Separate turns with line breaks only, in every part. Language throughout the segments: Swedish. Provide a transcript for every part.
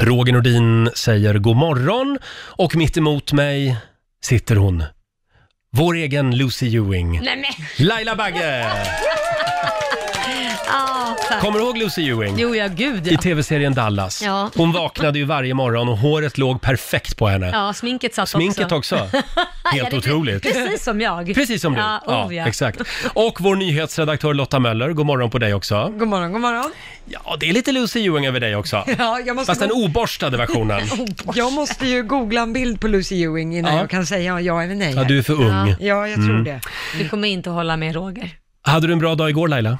Roger Nordin säger god morgon och mitt emot mig sitter hon. Vår egen Lucy Ewing.
Nej men!
Laila Bagge!
Ah, fan.
Kommer du ihåg Lucy Ewing?
Jo ja, gud
I
ja.
tv-serien Dallas.
Ja.
Hon vaknade ju varje morgon och håret låg perfekt på henne.
Ja, sminket satt
Sminket
också.
också. Helt
det-
otroligt.
Precis som jag.
Precis som du.
Ja, oh, ja.
exakt. Och vår nyhetsredaktör Lotta Möller, god morgon på dig också.
God morgon, god morgon.
Ja, det är lite Lucy Ewing över dig också.
Ja, jag, måste
Fast den
go-
oborstade versionen.
jag måste ju googla en bild på Lucy Ewing innan
Ja.
jag kan säga ja eller nej.
Ja, du Mm. är för ung.
Ja, jag tror det.
Du kommer inte att hålla med Roger.
Hade du en bra dag igår Laila?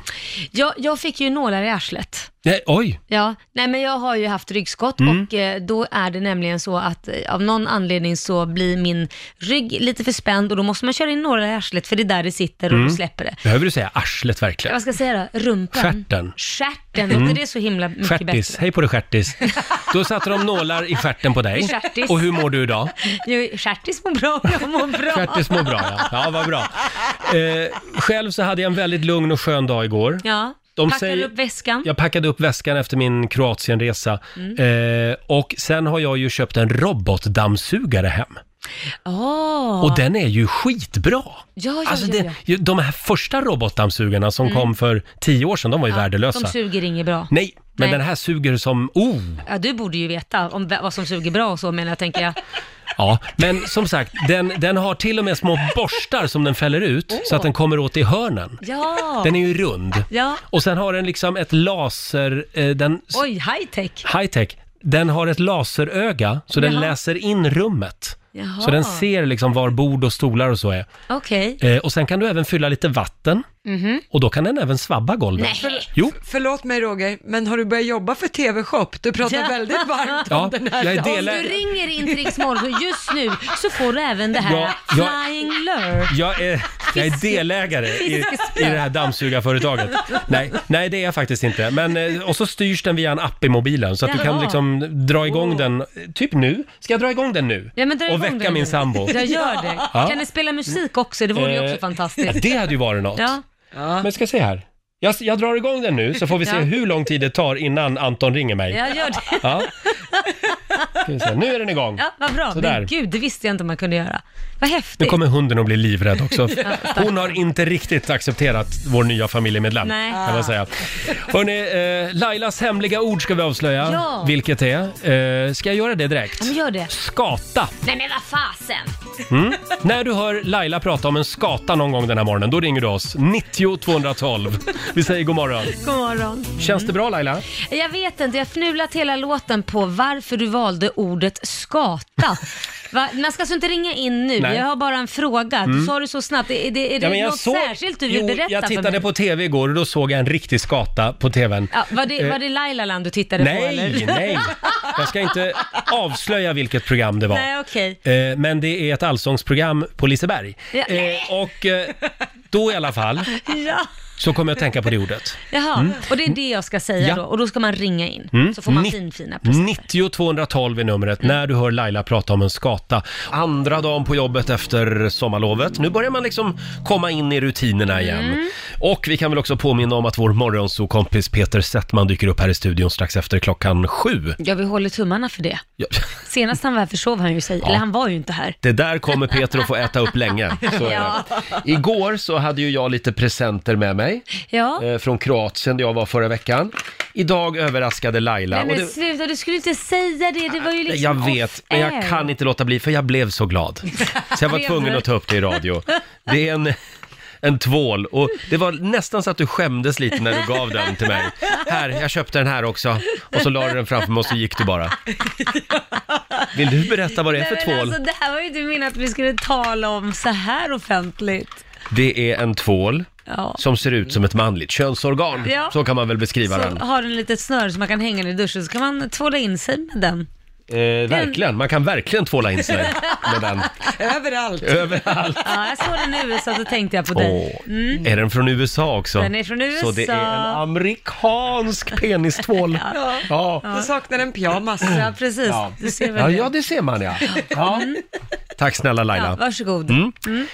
Jag, jag fick ju nålar i arslet.
Nej, oj!
Ja, nej men jag har ju haft ryggskott
Mm.
och eh, då är det nämligen så att eh, av någon anledning så blir min rygg lite för spänd och då måste man köra in några i arslet för det är där det sitter och
Mm.
då släpper det.
Behöver du säga arslet verkligen?
Vad ska jag säga då? Rumpan?
Stjärten. Mm.
Stjärten, låter det så himla mycket
Stjärtis.
bättre?
Hej på dig stjärtis. Då satte de nålar i stjärten på dig.
Stjärtis.
Och hur mår du idag?
Jo, Stjärtis mår bra och jag mår bra.
Stjärtis mår bra ja. Ja, vad bra. Eh, själv så hade jag en väldigt lugn och skön dag igår.
Ja,
De
packar
säger-
upp väskan.
Jag packade upp väskan efter min Kroatienresa
Mm.
eh, och sen har jag ju köpt en robotdammsugare hem.
Åh.
Och den är ju skitbra!
ja, ja,
Alltså
ja,
det,
ja. Mm.
ju- de här första robotdammsugarna som kom för tio år sedan, de var ju värdelösa.
De suger inget bra.
Alltså. Nej, men
Nej.
den här suger som... Oh!
Ja, du borde ju veta om v- vad som suger bra och så menar jag, tänker jag.
Ja, men som sagt, den, den har till och med små borstar som den fäller ut så att den kommer åt i hörnen.
Ja,
Den är ju rund.
ja.
Och sen har den liksom ett laser... Eh, den,
Oj, high tech.
high-tech. Den har ett laseröga, så den
Jaha.
läser in rummet.
Jaha.
Så den ser liksom var bord och stolar och så är.
Okej.
Eh, och sen kan du även fylla lite vatten. Och då kan den även svabba golvet.
Mhm. Nej.
Jo.
Förlåt mig Roger, men har du börjat jobba för TV-shop? Du pratar
Ja.
väldigt varmt
Ja,
om den här
jag är
dagen.
Om
Eller-
du ringer in till Rix Morgon just nu så får du även det här
Ja, jag-
Flying Lure.
Jag är, jag är delägare i, i det här dammsugarföretaget. Nej, nej, det är jag faktiskt inte. Men, eh, och så styrs den via en app i mobilen så att du kan
Jaha.
liksom dra igång den, eh, typ nu. Ska jag dra igång den nu?
Ja, men dra
och
igång
väcka
den
min
nu.
sambo?
Jag gör det.
Ja.
Kan ni spela musik också? Det vore ju
Eh,
också
Ja,
fantastiskt.
det hade ju varit något.
Ja.
Men ska se här. Jag, jag drar igång den nu så får vi se
Ja.
hur lång tid det tar innan Anton ringer mig.
Jag gör det.
Ja. Ska vi se. Nu är den igång.
Ja, vad bra.
Sådär.
Men gud, det visste jag inte man kunde göra. Vad
Nu
häftigt.
kommer hunden att bli livrädd också. Hon har inte riktigt accepterat vår nya familjemedlem.
Nej.
Kan man säga. Hörrni, eh, Lailas hemliga ord ska vi avslöja,
Ja.
vilket det är. Eh, ska jag göra det direkt?
Ja, men gör det.
Skata.
Nej men vad fasen.
När du hör Laila prata om en skata någon gång den här morgonen, då ringer du oss. 90 212. Vi säger god morgon.
God morgon.
Känns det bra Laila?
Jag vet inte, jag har fnulat hela låten på varför du valde ordet skata. Va? Man ska alltså inte ringa in nu,
Nej. Mm.
jag har bara en fråga. Du sa det så snabbt, är det, är det något särskilt du vill
jo,
berätta
jag
för
tittade
mig?
på TV igår och då såg jag en riktig skata på TVn.
Ja, var, det,
Eh,
var det Lailaland du tittade på eller?
Nej, nej. Jag ska inte avslöja vilket program det var.
Nej, okej.
Eh, Men det är ett allsångsprogram på Liseberg.
Ja,
Eh, Och eh, då i alla fall
Ja.
så kommer jag att tänka på det ordet.
Jaha, och det är det jag ska säga
Mm. Ja. Mm.
då. Och då ska man ringa in, så får man finfina presenter. Mm.
90 212 är numret när du hör Laila prata om en skata. Andra dagen på jobbet efter sommarlovet. Nu börjar man liksom komma in i rutinerna igen.
Mm.
Och vi kan väl också påminna om att vår morgonsokompis Peter Settman dyker upp här i studion strax efter klockan sju.
Ja, vi håller tummarna för det.
Ja.
Senast han var här försov han ju sig, eller han var ju inte här.
Det där kommer Peter att få äta upp länge. Så är det.
Ja.
Igår så hade ju jag lite presenter med mig
Ja.
eh, från Kroatien där jag var förra veckan. Idag överraskade Laila.
Nej
och
men
det-
sluta, du skulle inte säga det. Det var ju liksom
jag vet, men jag
off-air.
kan inte låta bli för jag blev så glad. Så jag var
Blev
tvungen
du?
att ta upp det i radio. Det är en, en tvål och det var nästan så att du skämdes lite när du gav den till mig. Här, jag köpte den här också. Och så la du den framför mig och så gick du bara. Vill du berätta vad det är för
Nej,
tvål?
men Alltså, det här var ju inte meningen att vi skulle tala om så här offentligt.
Det är en tvål
Ja.
som ser ut som ett manligt könsorgan.
Ja.
Så kan man väl beskriva
Så
den. Eh,
har den ett litet snöre som man kan hänga i duschen, så kan man tvåla in sig med den.
Eh, verkligen, man kan verkligen tvåla in sig med den.
Överallt.
Överallt.
Ja, jag såg den i USA, så tänkte jag på dig.
Åh, Är den från USA också?
Den är från
Så det är en
USA.
amerikansk penistvål. ja.
Jag saknar en pyjamas.
Ja, precis. Du ser väl
Ja,
det. Mm.
ja, det ser man ja. ja. Tack snälla
ja,
Laila.
varsågod.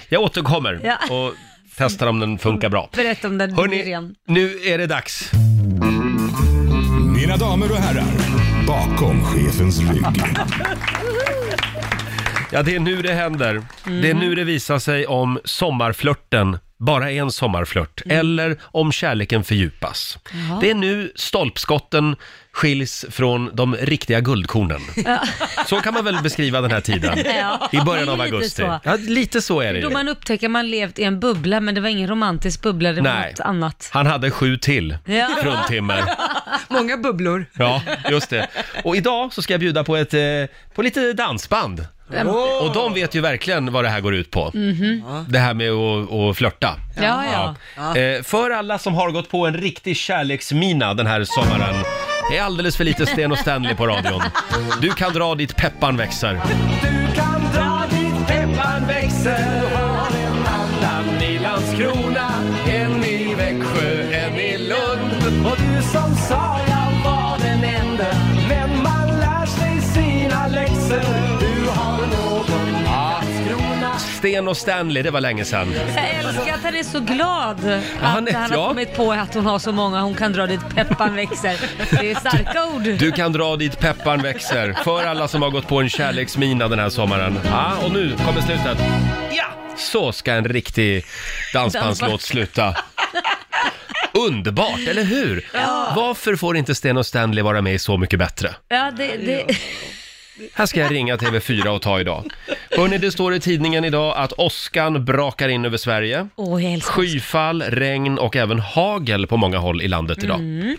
Jag återkommer
Ja.
och testar om den funkar bra.
Berätta om den
Hörni,
Hörrni...
nu är det dags.
Mina damer och herrar, Bakom chefens rygg.
Ja, det är nu det händer. Det är
Mm.
nu det visar sig om sommarflörten bara är en sommarflört eller om kärleken fördjupas.
Mm. Jaha.
Det är nu stolpskotten skiljs från de riktiga guldkornen. Så kan man väl beskriva den här tiden?
Ja,
I början
det är
av
lite
augusti.
så.
Ja, lite så är det
Då
ju.
man upptäcker man levt i en bubbla, men det var ingen romantisk bubbla, det var
Nej.
något annat.
Han hade sju till
Ja.
fruntimmer.
Många bubblor.
Ja, just det. Och idag så ska jag bjuda på, ett, eh, på lite dansband. Och de vet ju verkligen vad det här går ut på.
Mhm.
Det här med att, att flörta.
Ja, ja.
Eh, för alla som har gått på en riktig kärleksmina den här sommaren. Det är alldeles för lite Sten och Stanley på radion. Du kan dra dit peppan växer.
Du kan dra dit pepparn växer Har en annan i Landskrona En i Växjö, en i Lund Och du som sa jag var den enda Men man lär sig sina läxor Du har någon att krona
Sten och Stanley, det var länge sedan.
Jag älskar att han är så glad att
han
han,
är- ja.
har kommit på att hon har så många, hon kan dra dit peppan växer. Det är starka ord.
Du kan dra dit pepparn växer. För alla som har gått på en kärleksmina den här sommaren. Ja, och nu kommer slutet. Ja! Så ska en riktig dansbandslåt sluta. Underbart, eller hur? Varför får inte Sten och Stanley vara med i Så mycket bättre?
Ja, det, det,
Här ska jag ringa TV4 och ta idag. Hörrni, det står i tidningen idag att åskan brakar in över Sverige.
Åh, jag älskar
Skyfall, regn och även hagel på många håll i landet idag.
Mm.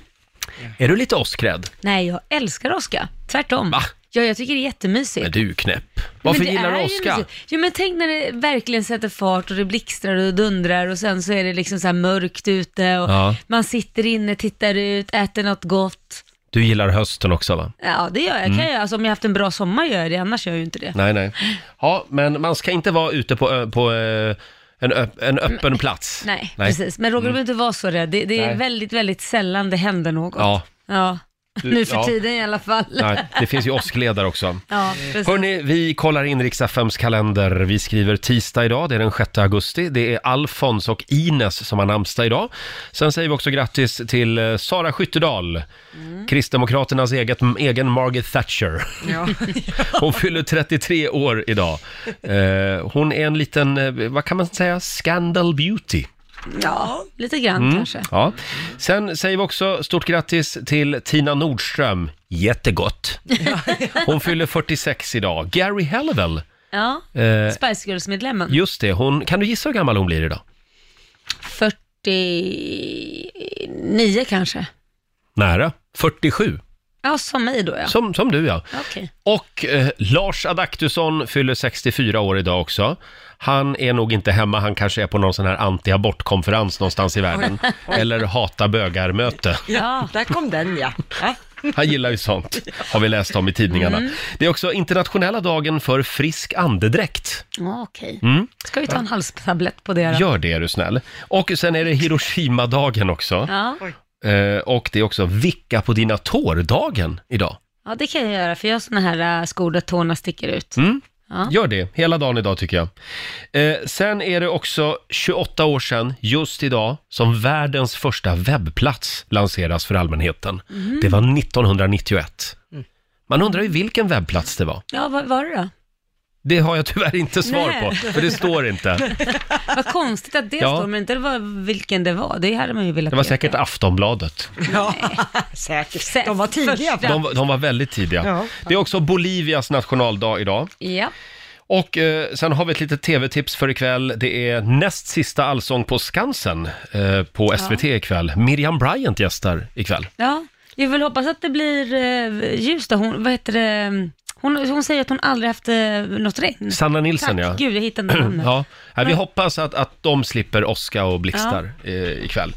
Är du lite åskrädd?
Nej, jag älskar Oskar. Tvärtom.
Va?
Ja, jag tycker det är jättemysigt.
Men du knäpp. Varför
Men det
gillar
är
du
ju
åska?
mysigt. Jo men tänk när det verkligen sätter fart och det blixtrar och dundrar och sen så är det liksom så här mörkt ute och
Ja.
man sitter inne, tittar ut, äter något gott.
Du gillar hösten också va?
Ja det gör jag. Kan jag göra. alltså, om jag haft en bra sommar gör jag det, annars gör jag ju inte det.
Mm. Nej, nej. Ja, men man ska inte vara ute på, ö- på eh, en, öpp- en öppen plats.
Nej, precis. Men Roger, du behöver inte vara så rädd. Det, det
Mm. Nej.
är väldigt, väldigt sällan det händer något.
Ja,
Ja.
Du-
nu för
ja.
tiden i alla fall.
nej. Det finns ju åskledare också.
Ja, precis.
Hörni, vi kollar in riks kalender. Vi skriver tisdag idag, det är den 6 augusti. Det är Alfons och Ines som har namnsdag idag. Sen säger vi också grattis till eh, Sara Skyttedal,
Mm.
Kristdemokraternas eget, egen Margaret Thatcher.
Ja.
Hon fyller 33 år idag. Eh, Hon är en liten, eh, vad kan man säga, scandal beauty.
ja, lite grann
Mm.
kanske.
Ja. Sen säger vi också stort grattis till Tina Nordström. Jättegott. Hon fyller 46 idag. Gary Hellwell,
Ja.
eh,
Spice Girls-medlemmen.
just det, hon, kan du gissa hur gammal hon blir idag?
49 kanske.
Nära. 47,
Ja, som mig då ja.
som, som du ja.
Okej.
Och eh, Lars Adaktusson fyller 64 år idag också. Han är nog inte hemma, han kanske är på någon sån här anti-abortkonferens någonstans i världen. Eller hata bögar-möte.
Ja.
Där kom den ja. ja. Mm.
Han gillar ju sånt, har vi läst om i tidningarna. Det är också internationella dagen för frisk andedräkt.
Ja, okej.
Mm.
Ska vi ta en halstablett på det då?
Gör det är du snäll. Och sen är det Hiroshima-dagen också.
Ja.
Eh, och det är också vicka på dina tår-dagen idag.
ja, det kan jag göra för jag har såna här äh, skor där tårna sticker ut.
Mm.
Ja.
Gör det, hela dagen idag tycker jag. Eh, sen är det också 28 år sedan, just idag, som världens första webbplats lanseras för allmänheten. Det var 1991. Man undrar ju vilken webbplats det var.
Ja, vad var det då?
Det har jag tyvärr inte svar
Nej.
på, för det står inte.
Vad konstigt att det
Ja.
står, men inte det var vilken det var. Det hade man ju velat
Det var
veta.
säkert Aftonbladet.
Säkert. De var tidiga.
Första.
De, var- de var väldigt tidiga.
Ja.
Det är också Bolivias nationaldag idag.
Ja.
Och eh, sen har vi ett litet tv-tips för ikväll. Det är näst sista Allsång på Skansen eh, på SVT ikväll. Miriam Bryant gästar ikväll.
ja. Jag vill hoppas att det blir eh, ljus då. Hon, vad heter det? Hon, hon säger att hon aldrig haft eh, något regn.
Sanna
Tack,
Nilsson ja.
gud, jag hittade inte namnet.
Ja, Nej, vi hoppas att, att de slipper åska och blixtar eh, ikväll.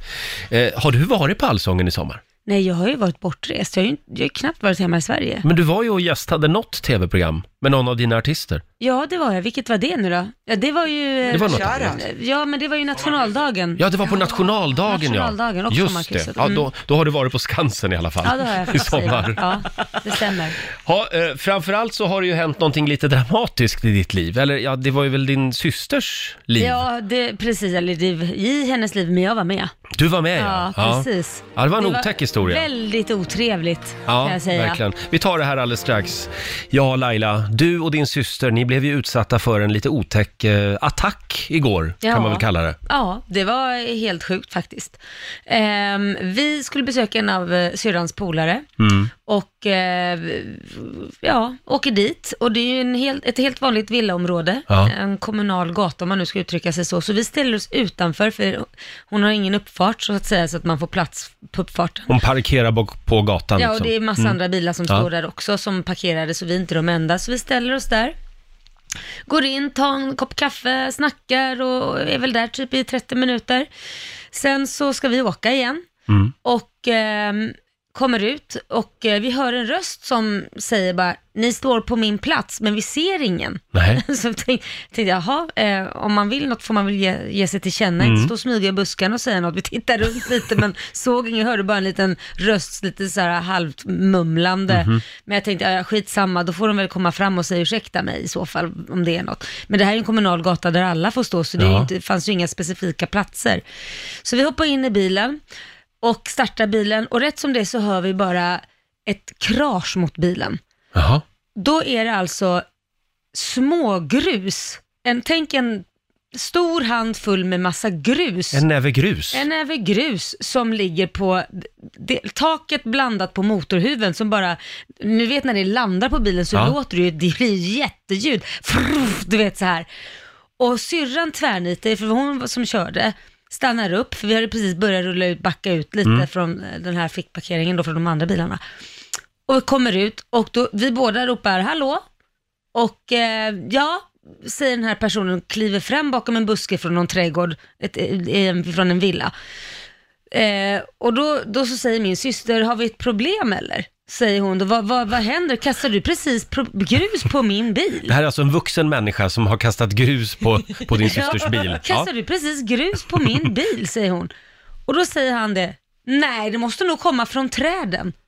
Eh, har du varit på Allsången i sommar?
Nej, jag har ju varit bortrest. Jag har ju, jag har ju knappt varit hemma i Sverige.
Men du var ju och gästade något tv-program med någon av dina artister.
Ja, det var jag. Vilket var det nu då? Ja, det var ju... eh,
Det var något
Köra.
annat.
Ja, men det var ju nationaldagen.
Ja, det var på nationaldagen,
Nationaldagen
ja.
och
Just det.
sommarkrysset.
Ja,
Mm.
då, då har du varit på Skansen i alla fall.
Ja, det har jag
I
fått säga.
sommar.
Ja, det stämmer.
Ja, eh, framförallt så har det ju hänt någonting lite dramatiskt i ditt liv. Eller ja, det var ju väl din systers liv
Ja, det, precis. Eller det, i hennes liv, men jag var med.
Du var med ja.
Ja, precis.
Ja, det var en otäck historia.
Väldigt otrevligt
Ja,
kan jag säga.
verkligen. Vi tar det här alldeles strax. Ja, Laila, du och din syster, ni blev ju utsatta för en lite otäck eh, attack igår,
Ja.
kan man väl kalla det.
Ja, det var helt sjukt faktiskt. Ehm, vi skulle besöka en av eh, syrrans polare och eh, ja, åker dit. Och det är ju en helt, ett helt vanligt villaområde,
Ja.
en kommunal gata om man nu ska uttrycka sig så. Så vi ställer oss utanför för hon har ingen uppfart så att säga, så att man får plats på uppfarten.
Hon parkerar bak- på gatan.
Ja, och
liksom.
det är massa andra bilar som
Ja.
står där också, som parkerade, så vi är inte de enda. Så vi ställer oss där, går in, tar en kopp kaffe, snackar och är väl där typ i 30 minuter. Sen så ska vi åka igen
Mm.
och ehm, kommer ut och eh, vi hör en röst som säger bara, ni står på min plats, men vi ser ingen.
Nej.
Så tänk, tänkte jag, jaha, eh, om man vill något får man väl ge, ge sig till känna, inte stå och smyga i buskarna och säga något. Vi tittade runt lite men såg inget, hörde bara en liten röst, lite så här halvt mumlande. Men jag tänkte, ja, ja, skitsamma, då får de väl komma fram och säga ursäkta mig i så fall, om det är något. Men det här är en kommunal gata där alla får stå, så det är ju
Ja.
inte, fanns ju inga specifika platser. Så vi hoppar in i bilen och startar bilen och rätt som det så hör vi bara ett krasch mot bilen
Jaha.
då är det alltså smågrus. En, tänk en stor hand full med massa grus.
En näve grus.
En näve grus som ligger på det, taket blandat på motorhuven som bara, ni vet när det landar på bilen så
Ja.
låter det ju, det blir jätteljud. Fruff, du vet så här. Och syrran tvärnitar, för hon var- som körde, stannar upp, för vi hade precis börjat rulla ut, backa ut lite
Mm.
från eh, den här fickparkeringen då, från de andra bilarna. Och vi kommer ut och då, vi båda ropar hallå och eh, ja, säger den här personen och kliver fram bakom en buske från någon trädgård, ett, eh, i en- från en villa. Eh, och då, då så säger min syster, har vi ett problem eller? Säger hon, då, vad, vad, vad händer? Kastar du precis pro- grus på min bil?
Det här är alltså en vuxen människa som har kastat grus på, på din systers bil. Ja.
Kastar du precis grus på min bil, säger hon. Och då säger han det, nej det måste nog komma från träden.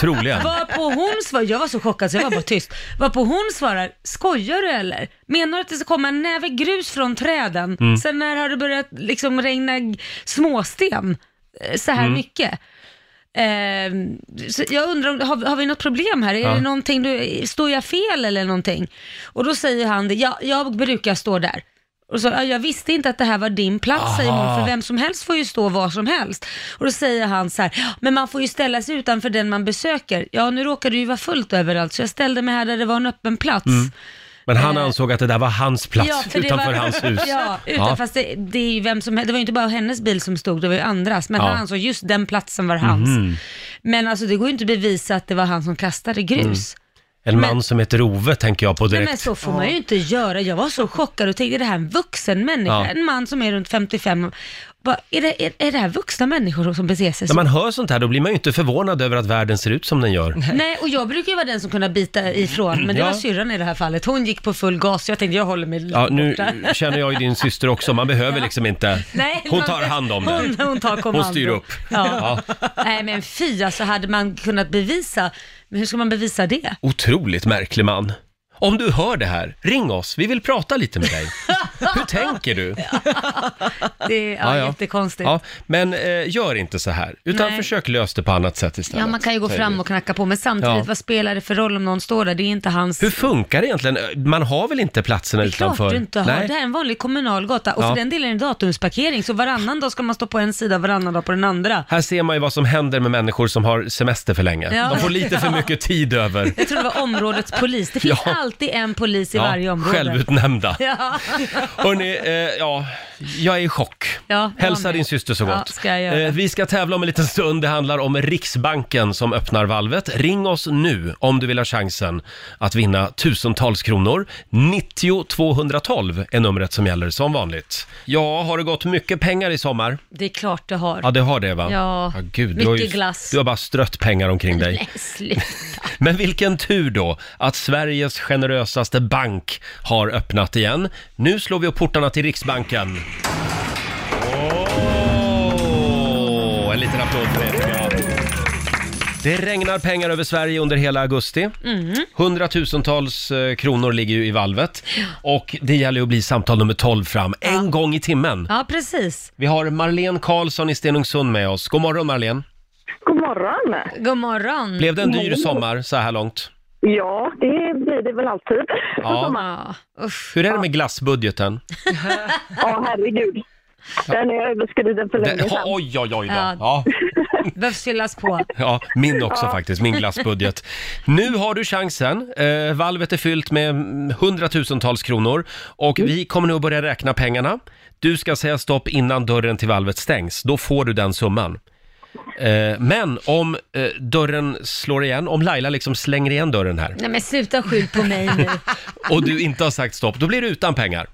Troligen.
Varpå hon svarar, jag var så chockad så jag var bara tyst. Varpå hon svarar, skojar du eller? Menar du att det ska komma en näve grus från träden? Sen när har det börjat liksom regna g- småsten eh, så här mycket? Ehm, så jag undrar, om- har, har vi något problem här? Är
Ja.
det någonting du, står jag fel eller någonting? Och då säger han det, ja, jag brukar stå där. Och så, "Ja, jag visste inte att det här var din plats, säger hon, för vem som helst får ju stå var som helst. Och då säger han så här, men man får ju ställa sig utanför den man besöker. Ja, nu råkar det ju vara fullt överallt, så jag ställde mig här där det var en öppen plats.
Men han ansåg att det där var hans plats
för det
utanför
var-
hans hus.
Ja, utan,
Ja.
fast det, det, är ju vem som, helst- det var ju inte bara hennes bil som stod, det var ju andras. Men
Ja. Mhm.
han ansåg just den platsen var hans. Men alltså det går ju inte att bevisa att det var han som kastade grus.
En man som heter Ove tänker jag på
Nej,
Mm. direkt.
men så får man ju inte göra. Jag var så chockad och tänkte, är det här en vuxen människa?
Ja.
En man som är runt 55. Bara, är, det, är, är det här vuxna människor som beter sig
När
så?
man hör sånt här då blir man ju inte förvånad över att världen ser ut som den gör.
Nej, och jag brukar ju vara den som kunde bita ifrån, men det
Ja.
var syrran i det här fallet. Hon gick på full gas, jag tänkte jag håller mig
Ja, nu
borta.
känner jag ju din syster också, man behöver liksom inte.
Nej,
Hon
man-
tar hand om det.
Hon, hon tar kommando.
Hon styr upp.
Ja.
Ja.
Nej men fy, alltså hade man kunnat bevisa, men hur ska man bevisa det?
Otroligt märklig man. Om du hör det här, ring oss, vi vill prata lite med dig. Hur tänker du?
Det är ja,
Ja, ja.
jättekonstigt.
Ja, men eh, gör inte så här, utan
Nej.
försök lösa det på annat sätt istället.
Ja, man kan ju gå
säger vi.
fram och knacka på, men samtidigt,
Ja.
vad spelar det för roll om någon står där? Det är inte hans...
Hur funkar det egentligen? Man har väl inte platserna
Det är klart
utanför?
du inte har.
Nej.
Det här är en vanlig kommunal gata och
Ja.
för den delen är det datumsparkering, så varannan dag ska man stå på en sida, varannan dag på den andra.
Här ser man ju vad som händer med människor som har semester för länge.
Ja.
De får lite för mycket tid över.
Jag tror det var områdets polis. Det finns
Ja.
alltid en polis i varje område.
Självutnämnda.
Ja.
Hörni, eh, ja, jag är i chock.
Ja, jag
Hälsa
med.
din syster så
Ja,
gott.
ska jag göra.
Eh, vi ska tävla om en liten stund. Det handlar om Riksbanken som öppnar valvet. Ring oss nu om du vill ha chansen att vinna tusentals kronor. 90 212 är numret som gäller som vanligt. Ja, har det gått mycket pengar i sommar?
Det är klart det har.
Ja, det har det va?
Ja,
gud, du har ju,
mycket glass.
Du har bara strött pengar omkring dig.
Nej, sluta.
Men vilken tur då att Sveriges generösaste bank har öppnat igen. Nu slår vi upp portarna till Riksbanken. Åh, en liten applåd för det tycker jag. Det regnar pengar över Sverige under hela augusti. Hundratusentals eh, kronor ligger ju i valvet. Och det gäller ju att bli samtal nummer 12 fram, en gång i timmen.
Ja, precis.
Vi har Marlene Karlsson i Stenungsund med oss. God morgon Marlene!
God morgon!
God morgon.
Blev det en dyr sommar så här långt?
Ja, det blir det väl alltid.
Ja.
Ja, usch.
Hur är det med glassbudgeten?
Ja, herregud. Den är överskriden för länge
Den,
sedan.
oj, oj, oj då.
Ja.
Ja.
Behövs fyllas på.
Ja, min också faktiskt, min glassbudget. Nu har du chansen. Eh, valvet är fyllt med mm, hundratusentals kronor och
Mm.
vi kommer nu att börja räkna pengarna. Du ska säga stopp innan dörren till valvet stängs. Då får du den summan. Eh, men om eh, dörren slår igen, om Laila liksom slänger igen dörren här
Nej men sluta skyll på mig nu.
och du inte har sagt stopp, då blir du utan pengar.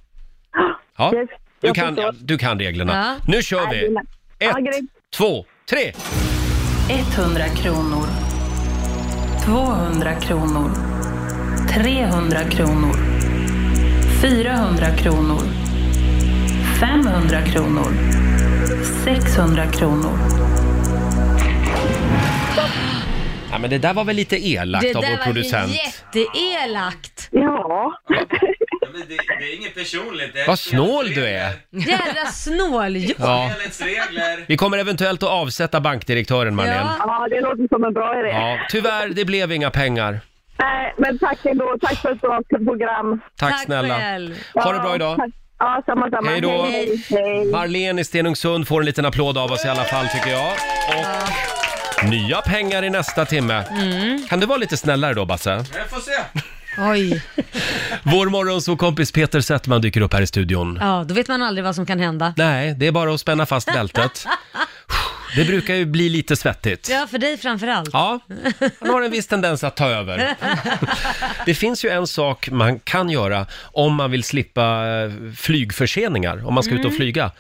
Ja,
Yes,
du
jag
kan,
förstår.
du kan reglerna.
Ja.
Nu kör vi!
Jajamän. Ja,
Ett,
grymt.
två, tre!
100 kronor. 200 kronor. 300 kronor. 400 kronor. 500 kronor. 600 kronor.
Ja, men det där var väl lite elakt
Det
av
där
vår
var
producent.
ju jätteelakt.
Ja,
Men det, det är inget personligt. Det är
Vad snål du är!
spelets
Jädra snålgjort.
Ja.
regler.
Vi kommer eventuellt att avsätta bankdirektören, Marlene.
Ja.
ja, det låter som en bra idé.
Ja. tyvärr, det blev inga pengar.
Nej, men tack ändå. Tack för ett bra program.
Tack,
Tack
snälla.
själv.
Ha det bra idag.
tack. Ja, samma, samma.
Hej då.
Hej, hej.
Marlene i Stenungsund får en liten applåd av oss i alla fall, tycker jag. Och nya pengar i nästa timme.
Mm.
Kan du vara lite snällare då, Basse?
Jag får se.
Oj.
Vår morgonsåkompis Peter Settman dyker upp här i studion.
Ja, då vet man aldrig vad som kan hända.
Nej, det är bara att spänna fast bältet. Det brukar ju bli lite svettigt.
Ja, för dig framförallt.
Ja, han har en viss tendens att ta över. Det finns ju en sak man kan göra om man vill slippa eh, flygförseningar, om man ska ut och flyga.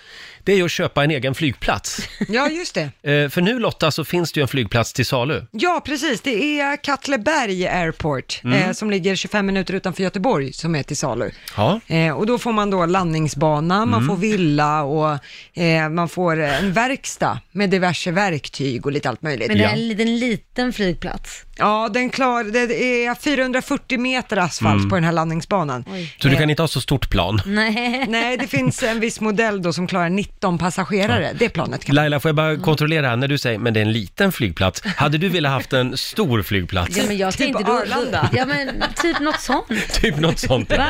Det är ju att köpa en egen flygplats.
Ja, just det.
Eh, För nu Lotta så finns det ju en flygplats till salu.
Ja, precis. Det är Kattleberg Airport
Mm.
eh, som ligger 25 minuter utanför Göteborg som är till salu.
Ja.
Eh, och då får man då landningsbana, man får villa och eh, man får eh, en verkstad med diverse verktyg och lite allt möjligt.
Men det är
Ja.
en liten, liten flygplats.
Ja, den klar, det är 440 meter asfalt på den här landningsbanan.
Så du kan inte ha så stort plan.
Nej.
Nej, det finns en viss modell då som klarar 19 passagerare. Det planet kan
Laila, får jag bara kontrollera här när du säger, men det är en liten flygplats. Hade du velat haft en stor flygplats?
Ja, men jag
Typ
tänkte då,
Arlanda.
Ja, men typ något sånt.
Typ något sånt.
Va?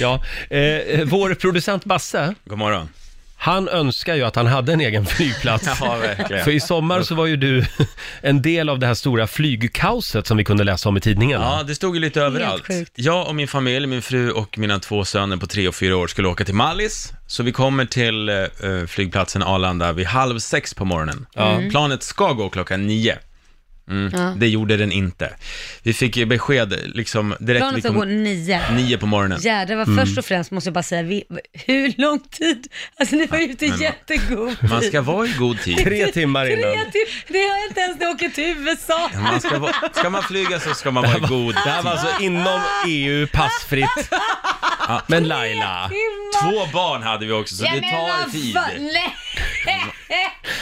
Ja. Eh, vår producent Basse,
God morgon.
han önskar ju att han hade en egen flygplats.
Ja, verkligen.
För i sommar så var ju du en del av det här stora flygkaoset som vi kunde läsa om i tidningarna.
Ja, det stod ju lite överallt.
sjukt.
Jag och min familj, min fru och mina två söner på tre och fyra år skulle åka till Mallis. Så vi kommer till eh, flygplatsen Arlanda vid halv sex på morgonen.
Mm.
Planet ska gå klockan nio. Mm, Det gjorde den inte. Vi fick ju besked liksom direkt
Planet
vi
ska gå
kom,
nio.
nio på morgonen.
Jädrar vad först och främst måste jag bara säga, vi, hur lång tid? Alltså ni var ute i jättegod tid.
Man ska vara i god tid.
Tre timmar innan.
Tre timmar, det har jag inte ens när jag åker till USA.
Man ska, vara, ska man flyga så ska man vara i god
Det här var
tid.
alltså inom EU, passfritt. Men Laila,
Två barn hade vi också, så det tar tid.
Nej,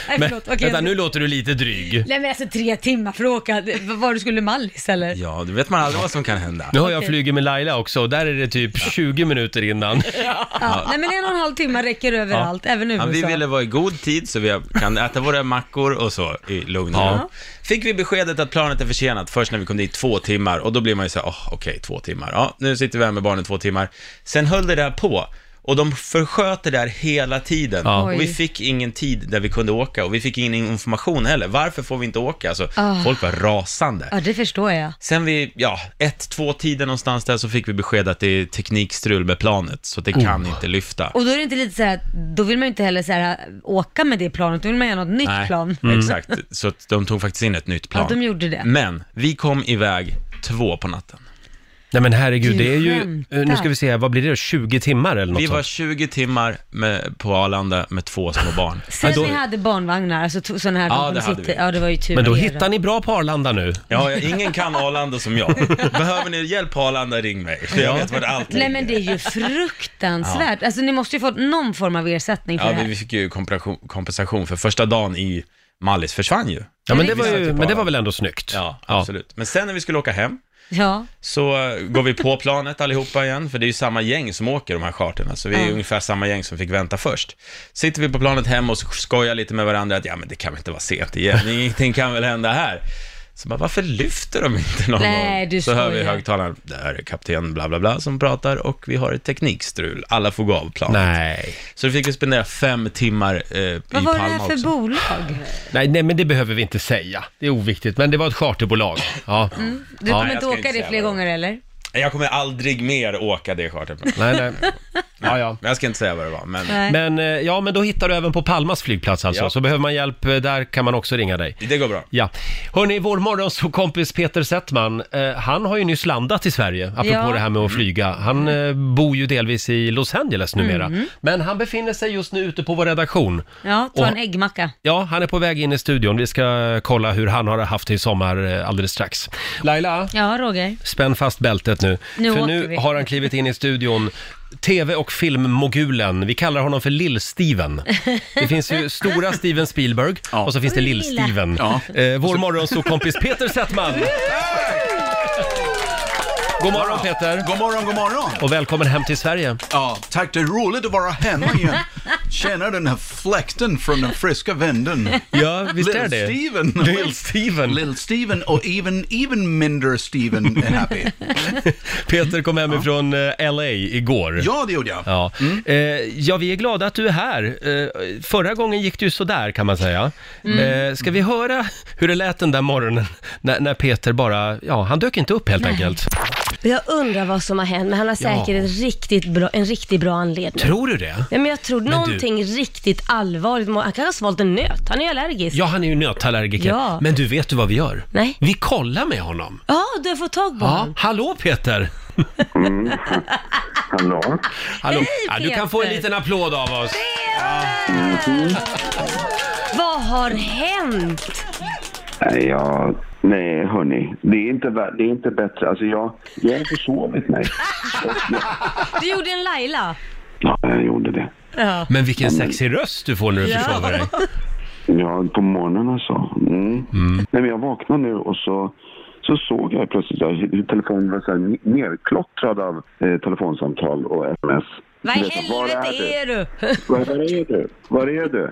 Nej
men,
förlåt. Okej,
vänta
jag-
nu låter du lite dryg.
Nej men alltså tre timmar för att åka, var du skulle Mallis eller?
Ja, du vet man aldrig vad som kan hända.
Nu har jag flugit med Laila också och där är det typ 20 minuter innan.
Ja. Nej men en och en halv timme räcker överallt, även i USA.
Ja, vi ville vara i god tid så vi kan äta våra mackor och så i lugn och ro. Fick vi beskedet att planet är försenat först när vi kom dit två timmar och då blir man ju så här, "Åh, okej, två timmar. Ja, nu sitter vi här med barnen två timmar. Sen höll det där på och de försköt det där hela tiden.
Ja.
Och vi
Oj.
fick ingen tid där vi kunde åka och vi fick ingen information heller. Varför får vi inte åka? Alltså, folk var rasande.
Ah. Ja det förstår jag.
Sen vid, ja, ett, två tiden någonstans där så fick vi besked att det är teknikstrul med planet, så det kan
Mm.
inte lyfta.
Och då är det inte lite så här, då vill man ju inte heller så här, åka med det planet, då vill man göra något nytt
Mm.
plan.
Mm.
exakt. Så att de tog faktiskt in ett nytt plan.
Ja, de gjorde det.
Men vi kom iväg två på natten.
Nej men herregud,
Du
det är ju, eh,
skämtar.
nu ska vi se, vad blir det då? 20 timmar eller något
Vi var
sånt?
20 timmar med, på Arlanda med två små barn.
Sen
då-
ni hade barnvagnar, alltså to- sådana här
Ja,
som
det
kunde
hade
sitta-
vi.
Ja det var ju tur
Men då
för er
hittar ni bra på Arlanda nu.
Ja, jag- ingen kan Arlanda som jag. Behöver ni hjälp på Arlanda, ring mig. för Jag vet var allt
Nej
ligger.
men det är ju fruktansvärt. Alltså ni måste ju fått någon form av ersättning för
Ja,
det
men
här.
vi fick ju kompensation- kompensation för första dagen i Mallis försvann ju.
Ja, men det,
Vi
var
satt
ju,
bara-
men det var väl ändå snyggt?
Ja, absolut. Men sen när vi skulle åka hem
Ja.
så eh, går vi på planet allihopa igen, för det är ju samma gäng som åker de här charterna, så vi är
Ja.
ungefär samma gäng som fick vänta först. Sitter vi på planet hem och skojar lite med varandra att ja, men det kan väl inte vara sent igen, ingenting kan väl hända här. Så bara, varför lyfter de inte någon
Nej,
gång?
du
Så hör vi i
skojar.
högtalaren, där är kapten bla bla bla som pratar och vi har ett teknikstrul, alla får gå av planet.
Nej.
Så då fick vi spendera fem timmar eh, i
Vad
Palma
var det här för
också.
bolag?
nej. Nej, men det behöver vi inte säga. Det är oviktigt, men det var ett charterbolag. Ja.
Du
Ja.
kommer
jag
inte
ska
åka
inte
Mm. det
säga
fler
vad det
gånger eller?
Jag kommer aldrig mer åka det charterplanet.
Nej, nej. Ja, ja.
Men Jag ska inte säga vad det var, men
Nej.
Men, eh, ja, men då hittar du även på Palmas flygplats alltså,
Ja.
så behöver man hjälp, eh, där kan man också ringa dig.
det går bra.
Ja. Hörni, vår morgonsåkompis Peter Settman, eh, han har ju nyss landat i Sverige, apropå
Ja. Mm.
det här med att flyga. Han eh, bor ju delvis i Los Angeles numera,
Mm.
men han befinner sig just nu ute på vår redaktion.
Ja, ta
Och-
en äggmacka.
Ja, han är på väg in i studion. Vi ska kolla hur han har haft det i sommar eh, alldeles strax. Laila,
Ja, Roger.
spänn fast bältet nu.
Nu
för
åker
nu
vi.
har han klivit in i studion. TV och filmmogulen, vi kallar honom för Lill-Steven. Det finns ju stora Steven Spielberg och så finns det Lill-Steven.
Ja.
Eh, vår morgonsåkompis Peter Settman! God morgon Peter!
God morgon, god morgon!
Och välkommen hem till Sverige.
Ja, tack, det är roligt att vara hemma igen. Känna den här fläkten från den friska vinden.
Ja, visst är det?
Lill-Steven!
Lill-Steven!
Lill-Steven och even, even mindre Steven är happy.
Peter kom hemifrån eh, LA igår.
Ja, det gjorde jag.
Ja.
Mm.
Eh, ja, vi är glada att du är här. Eh, förra gången gick det ju sådär kan man säga.
Mm.
Eh, ska vi höra hur det lät den där morgonen när, när Peter bara, ja, han dök inte upp helt enkelt.
Jag undrar vad som har hänt, men han har
Ja.
säkert en, riktigt bra, en riktigt bra anledning.
Tror du det?
Nej, men jag tror
du-
någonting riktigt allvarligt. må- Han kanske har svalt en nöt. Han är ju allergisk.
Ja, han är ju nötallergiker.
Ja.
Men du, vet du vad vi gör?
Nej.
Vi kollar med honom.
Ja, du har fått tag
Ja,
på honom.
hallå Peter!
Hallå?
Hallå.
Hej,
Ja, du kan få en
Peter.
liten applåd av oss.
Vad har hänt?
Nej, jag... Nej, hörni. Det är inte, vä- det är inte bättre. Alltså, jag, jag har inte sovit mig.
Du gjorde en Laila.
Ja, jag gjorde det.
Men vilken sexig röst du får när du försover dig.
Ja, på morgonen alltså. Mm. Nej, men jag vaknade nu och så, så såg jag plötsligt att hur telefonen var så här nerklottrad av eh, telefonsamtal och sms.
Vad
Du
i
vet,
helvete
du?
är du?
Var, var är du? Var är du?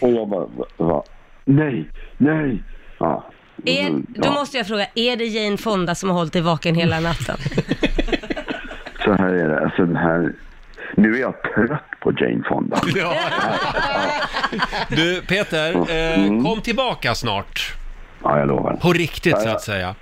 Och jag bara, va, va? nej, nej. Ja.
Är,
Mm,
då
ja,
måste jag fråga, är det Jane Fonda som har hållit dig vaken hela natten?
Så här är det, alltså den här... Nu är jag trött på Jane Fonda.
Du, Peter, eh, kom tillbaka snart.
Ja, jag lovar.
På riktigt så
ja.
att säga.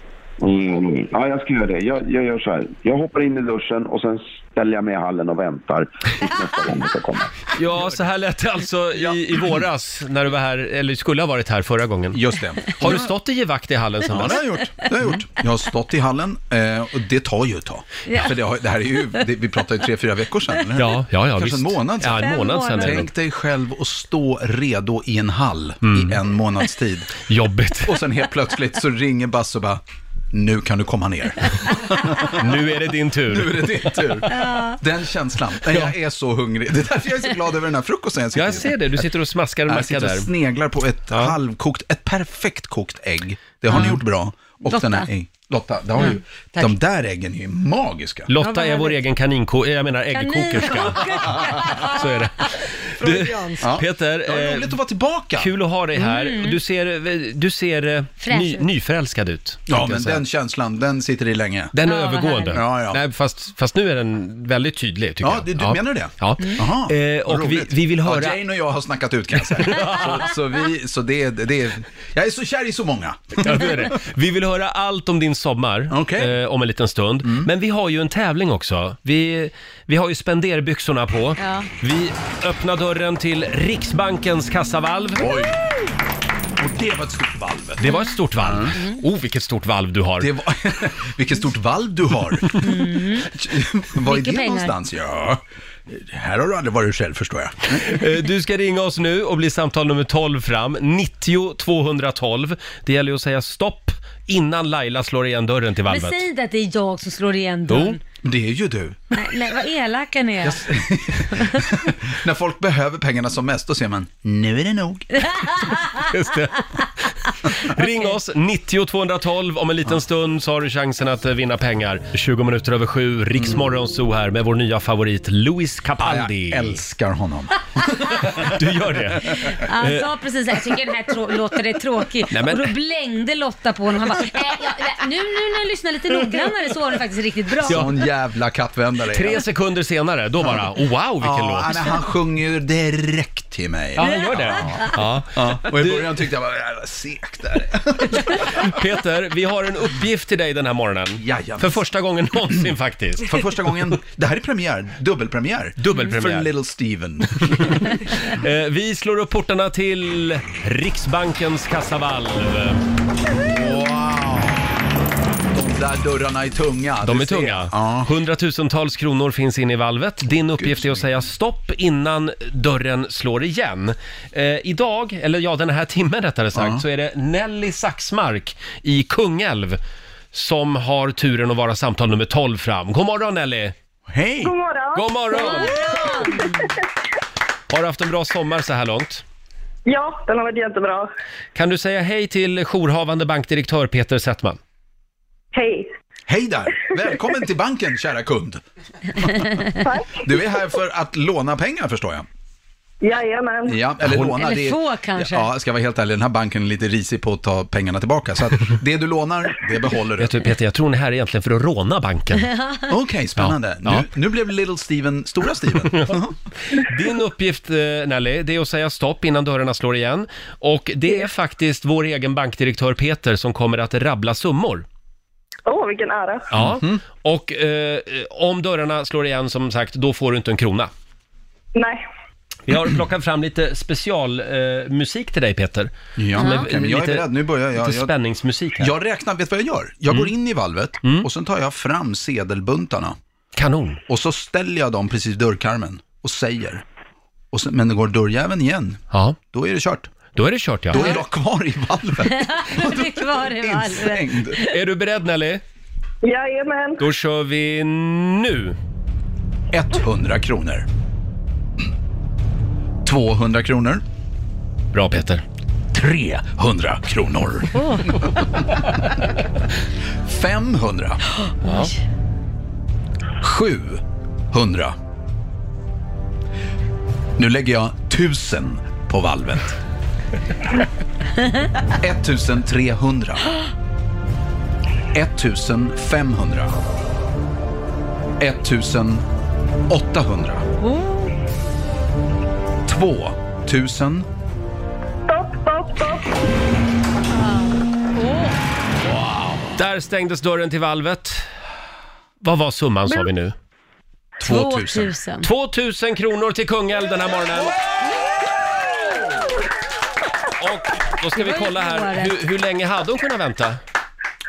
Mm. Ja, jag ska göra det. Jag, jag gör så här. Jag hoppar in i duschen och sen ställer jag mig i hallen och väntar tills nästa gång det ska komma.
Ja, så här lät det alltså i, i våras när du var här, eller skulle ha varit här förra gången.
Just det.
Har du stått i givakt i hallen sen
Ja,
dess?
det har jag gjort. Det har jag, gjort. jag har stått i hallen eh, och det tar ju ett tag. För det, har, det här är ju, det, vi pratar ju tre, fyra veckor sedan. eller hur?
Ja, ja, ja,
Kanske en
visst.
månad sedan.
Ja, en månad sedan.
månader.
eller
Tänk
något.
dig själv att stå redo i en hall
Mm.
i en månads tid.
Jobbigt.
Och sen helt plötsligt så ringer Basse och bara, nu kan du komma ner.
Nu är det din
Nu är
tur.
det din tur. Den känslan. Nej, jag är så hungrig. Det är därför jag är så glad över den här frukosten jag sitter
Jag ser det, du sitter och smaskar en
Jag
macka
sitter
där.
och sneglar på ett halvkokt, ett perfekt kokt ägg. Det har ni gjort bra. Och
Lotta.
den här ägg. Lotta, det har ju, de där äggen är ju magiska.
Lotta är vår egen kaninko, eh, jag menar äggkokerska. Så är det. Du,
Ja.
Peter,
Det är
eh,
roligt att vara tillbaka.
kul att ha dig här. Du ser, du ser eh,
Mm. Fräsch
ny,
ut.
nyförälskad ut.
Ja,
tänkte jag
men
säga.
den känslan, den sitter i länge.
Den är
Ja, vad
övergående.
härligt.
Ja, ja.
Nej, fast, fast nu är den väldigt tydlig tycker
Ja,
jag.
du- du menar det? Mm.
Ja.
Jaha,
Eh,
vad
och vi,
roligt.
vi vill höra...
Ja, Jane och jag har snackat ut kan jag säga. så, så vi, så det, det är... Jag är så kär i så många.
Ja, det är det. Vi vill höra allt om din sommar
Okej. Mm.
eh, om en liten stund. Men vi har ju en tävling också. Vi, vi har ju spenderbyxorna på.
Ja.
Vi öppnar dörren till Riksbankens kassavalv.
Oj. Och det var ett stort valv.
Det var ett stort valv. Oh, vilket stort valv du har.
Mm. Det var... Vilket stort valv du
Mm.
har. Var är
Mycket
det
pengar.
någonstans? Ja, här har du aldrig varit själv förstår jag.
Eh, Du ska ringa oss nu och bli samtal nummer 12 fram. 90 212. Det gäller ju att säga stopp innan Laila slår igen dörren till
Men
valvet.
säg inte att det är jag som slår igen
Jo,
dörren.
Det är ju du.
Nej, nej vad elaka ni är.
När folk behöver pengarna som mest, då ser man, nu är det nog.
Just det. Ring oss, 90 212. Om en liten stund så har du chansen att eh, vinna pengar. 20 minuter över sju, Riksmorgon Zoo här med vår nya favorit Louis Capaldi.
Jag älskar honom.
Du gör det?
Han
Eh,
sa precis jag tycker den här trå- låter det tråkig.
Nej, men-
Och då blängde Lotta på honom. Han bara, "Nej, jag, nej, nu, nu när jag lyssnar lite noggrannare så var den faktiskt riktigt bra.
Sån jävla kappvändare.
Tre sekunder senare, då bara, wow vilken
ja,
låt.
nej, Han sjunger ju direkt till mig.
Ja, han gör det. Ja.
Ja, och i början tyckte jag bara, jävla segt där.
Peter, vi har en uppgift till dig den här morgonen.
Jajamän.
För första gången någonsin faktiskt.
För första gången, det här är premiär, dubbelpremiär.
Dubbelpremiär.
För Little Steven.
Eh, vi slår upp portarna till Riksbankens kassavalv.
Wow! De där dörrarna är tunga.
De
du
är
ser.
tunga.
Ja.
Hundratusentals kronor finns inne i valvet. Din uppgift är att säga stopp innan dörren slår igen. Eh, idag, eller ja, den här timmen rättare sagt, så är det Nelly Saxmark i Kungälv som har turen att vara samtal nummer 12 fram. God morgon Nelly!
Hej!
God morgon.
God morgon! Har du haft en bra sommar så här långt?
Ja, den har varit jättebra.
Kan du säga hej till jourhavande bankdirektör Peter Settman?
Hej.
Hej där! Välkommen till banken, kära kund.
Tack.
Du är här för att låna pengar, förstår jag.
Jajamän.
Ja, eller
Hon-
låna.
Eller
det är-
få, kanske.
Ja, jag ska vara helt ärlig, den här banken är lite risig på att ta pengarna tillbaka. Så att det du lånar, det behåller du.
Vet du Peter, jag tror ni är typ- här egentligen för att råna banken.
Okej, spännande.
Ja.
Nu, nu blev Little Steven stora Steven.
Din uppgift eh, Nelly, det är att säga stopp innan dörrarna slår igen. Och det är faktiskt vår egen bankdirektör Peter som kommer att rabbla summor.
Åh, vilken ära.
Ja. Och eh, om dörrarna slår igen som sagt, då får du inte en krona.
Nej.
Vi har plockat fram lite specialmusik eh, musik till dig Peter.
Ja,
Som är
okej, men jag är
lite-
beredd. Nu börjar jag.
Lite
jag
spänningsmusik här.
Jag räknar, vet du vad jag gör? Jag går in i valvet och sen tar jag fram sedelbuntarna
Kanon!
och så ställer jag dem precis i dörrkarmen och säger. Och sen, men det går dörrjäveln igen,
Ja,
då är det kört.
då är det kört ja.
Då är jag kvar i valvet,
Det är kvar i valvet.
instängd.
Är du beredd Nelly?
Jajamän.
Då kör vi nu!
100 kronor. 200 kronor.
Bra Peter.
300 kronor. 500. 700. Nu lägger jag 1000 på valvet. 1300. 1500. 1800. 2000.
Stopp, stopp, stopp.
Där stängdes dörren till valvet. Vad var summan sa vi nu?
2000.
2000.
2000 kronor till Kungälv den här morgonen. Och då ska vi
var ju
kolla här,
bra rätt.
hur, hur länge hade hon kunnat vänta?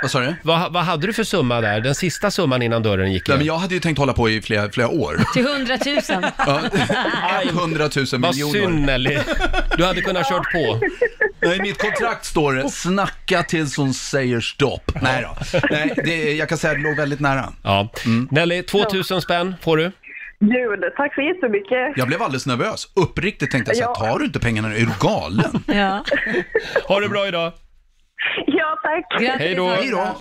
Vad sa du?
Vad, vad hade du för summa där, den sista summan innan dörren gick
Nej, men
igen?
jag hade ju tänkt hålla på i flera, flera år.
Till 100 000.
Ja, 100 000
Vad
miljoner.
synd Nelly. Du hade kunnat kört på.
Nej, I mitt kontrakt står det “snacka tills hon säger stopp”. Nej då. Nej, det, jag kan säga att det låg väldigt nära.
Ja.
Mm.
Nelly, 2000 spänn får du.
Gud, tack så jättemycket.
Jag blev alldeles nervös. Uppriktigt tänkte jag så här,
Ja.
tar du inte pengarna nu? Är du galen?
Ja.
Ha det bra idag.
Ja, tack.
Grattis.
Hej då.
Hej då.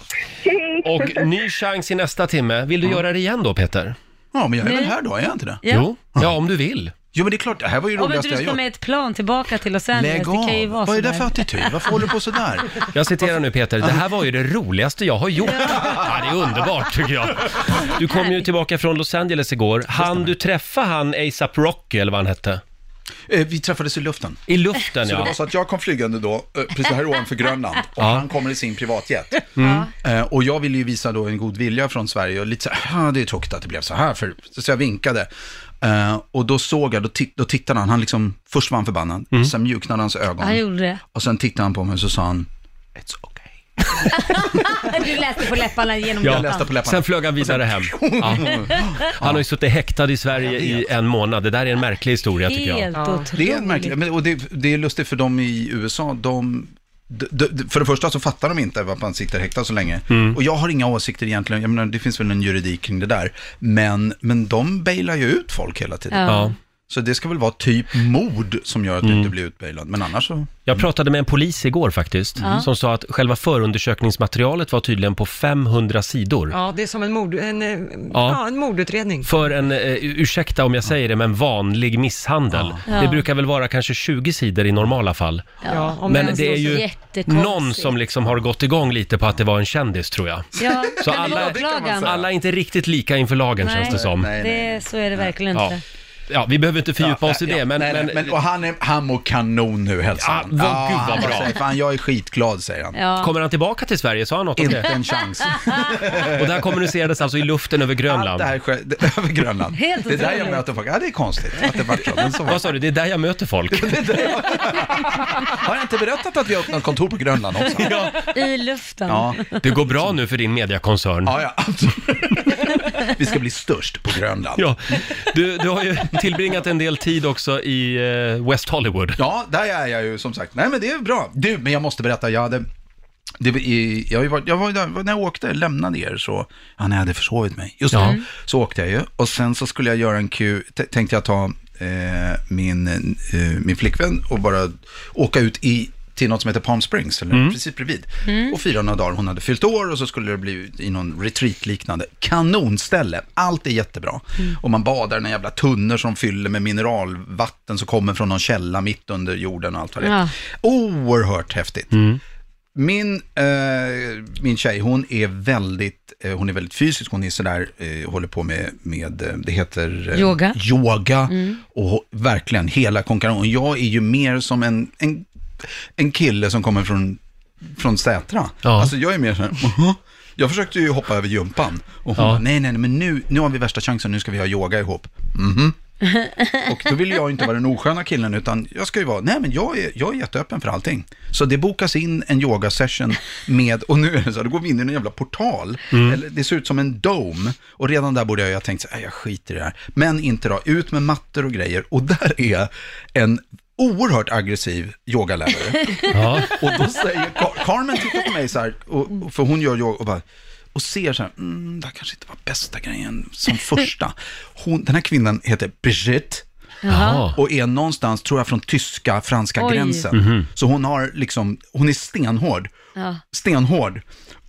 Hej.
Och ny chans i nästa timme. Vill
Mm.
du göra det igen då Peter?
Ja, men jag är väl här då, är jag inte det?
Ja.
Jo. Ja, om du vill.
Jo, men det är klart, det här var ju det
Om inte
roligaste
du
jag
ska
gjort.
med ett plan tillbaka till Los Angeles,
Lägg
det kan ju
av.
vara
Vad är
som
det för attityd? Varför håller du på sådär?
Jag citerar nu Peter, det här var ju det roligaste jag har gjort. Ja, det är underbart tycker jag. Du kom ju tillbaka från Los Angeles igår. Han du träffa han ASAP Rocky eller vad han hette?
Eh, vi träffades i luften.
I luften
Det
ja.
var så att jag kom flygande då, eh, precis här ovanför Grönland, och han kommer i sin privatjet. Eh, Och jag ville ju visa då en god vilja från Sverige och lite så här, "Ah, det är tråkigt att det blev så här, för... så jag vinkade. Eh, Och då såg jag, då, titt- då tittade han, han liksom, först var han förbannad, sen mjuknade hans
Han
ögon.
gjorde det.
Och sen tittade han på mig och så sa han, it's okay.
Du läste på läpparna genom
Ja.
Jag läste på läpparna.
Sen flög han vidare hem. Ja. Han har ju suttit häktad i Sverige i en månad. Det där är en märklig historia tycker jag.
Helt otroligt.
Det är märkligt, men- och det, det är lustigt för de i USA, de d- d- för det första så fattar de inte varför man sitter häktad så länge.
Mm.
Och jag har inga åsikter egentligen, jag menar, det finns väl en juridik kring det där. Men, men de bailar ju ut folk hela tiden.
Ja. Ja.
Så det ska väl vara typ mord som gör att du
Mm.
inte blir utbailad, men annars så...
Jag pratade med en polis igår faktiskt,
Ja.
som sa att själva förundersökningsmaterialet var tydligen på 500 sidor.
Ja, det är som en, mord, en, eh,
Ja.
ja, en mordutredning.
För en, eh, ursäkta om jag säger det, men vanlig misshandel.
Ja.
Det brukar väl vara kanske 20 sidor i normala fall.
Ja, om
men
ens
det är
då så
ju
jättekonstigt.
någon som liksom har gått igång lite på att det var en kändis tror jag.
Ja,
Så
men
alla,
åklagaren.
alla är inte riktigt lika inför lagen
Nej,
känns det som.
Det, så är det verkligen
Ja.
inte.
ja, vi behöver inte fördjupa
Ja,
oss i
ja,
det, men...
nej, nej, men- och han, är, han mår kanon nu hälsar
Ja, vad- gud, vad
han
bra.
Säger, Fan, jag är skitglad, säger han.
Ja.
Kommer han tillbaka till Sverige? Sa han något om
Inte
det?
en chans.
Och där kommunicerades alltså i luften över Grönland?
Allt det här sker det- över Grönland.
Helt
det är där jag
otroligt.
möter folk. Ja, det är konstigt att det vart så. Men så var det.
Vad sa du? Det är där jag möter folk?
Har jag inte berättat att vi har öppnat kontor på Grönland också?
I luften.
Det går bra nu för din mediakoncern.
Ja, ja. Vi ska bli störst på Grönland.
Ja. Du, du har ju tillbringat en del tid också i eh, West Hollywood.
Ja, där är jag ju som sagt. Nej, men det är bra. Du, men jag måste berätta, jag hade... Det, var i- jag, har ju varit, jag var ju där, när jag åkte, lämnade er så, ja, när jag hade försovit mig, just
Ja.
Mm.
det, så åkte jag ju. Och sen så skulle jag göra en Q, t- tänkte jag ta eh, min, eh, min flickvän och bara åka ut i, till något som heter Palm Springs, eller
Mm.
precis bredvid. Och fira några dagar, hon hade fyllt år och så skulle det bli ut i någon retreat liknande. Kanonställe, allt är jättebra.
Mm.
Och man badar i några jävla tunnor som fyller med mineralvatten som kommer från någon källa mitt under jorden och allt vad det är.
Ja.
Oerhört häftigt. Min, eh, min tjej, hon är väldigt, eh, hon är väldigt fysisk, hon är sådär, eh, håller på med, med eh, det heter eh,
Yoga.
yoga och ho- verkligen hela konkurrensen. Jag är ju mer som en, en, en kille som kommer från, från Sätra. Alltså jag är mer såhär, "Mhm." jag försökte ju hoppa över gympan och hon
Ja.
bara, nej, nej, nej, men nu, nu har vi värsta chansen, nu ska vi ha yoga ihop. Mhm. Och då vill jag ju inte vara den osköna killen, utan jag ska ju vara, nej men jag är, jag är jätteöppen för allting. Så det bokas in en yogasession med, och nu är det så här, då går vi in i en jävla portal, eller, det ser ut som en dome, och redan där borde jag ju ha tänkt så här, "Äh, jag skiter i det här. Men inte då, ut med mattor och grejer, och där är en oerhört aggressiv yogalärare.
Ja.
Och då säger Car- Carmen, tittar på mig så här, och, och- för hon gör yoga, och bara, och ser så här, mm, det här kanske inte var bästa grejen som första. Hon, den här kvinnan heter Brigitte.
Jaha.
Och är någonstans, tror jag, från tyska, franska
Oj.
gränsen.
Mhm.
Så hon har liksom, hon är stenhård.
Ja.
Stenhård.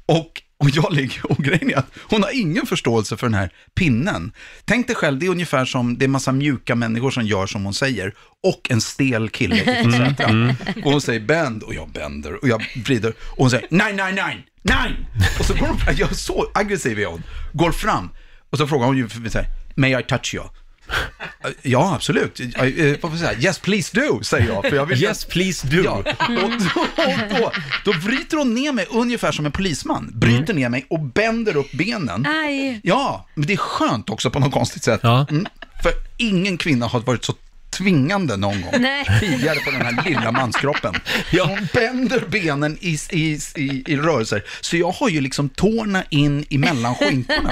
Och, och jag ligger, och grejen är att hon har ingen förståelse för den här pinnen. Tänk dig själv, det är ungefär som, det är massa mjuka människor som gör som hon säger. Och en stel kille i
Mm,
Sätra.
mm.
Och hon säger bänd, och jag bänder, och jag vrider. Och hon säger nej, nej, nej, nej! Och så går hon, fram- jag är så aggressiv är hon. Går fram, och så frågar hon ju för mig så här, may I touch you? Ja, absolut. Eh, eh, Vad får jag säga? Yes, please do, säger jag. För jag vill
Yes, please do.
Ja. Och då, och då, då vrider hon ner mig ungefär som en polisman. Bryter
Mm.
ner mig och bänder upp benen.
Äh. Aj.
Ja, men det är skönt också på något konstigt sätt. Mm. För ingen kvinna har varit så tvingande någon gång
Nej.
tidigare på den här lilla manskroppen. Hon bänder benen i, i, i, i rörelser, så jag har ju liksom tårna in i mellanskinkorna.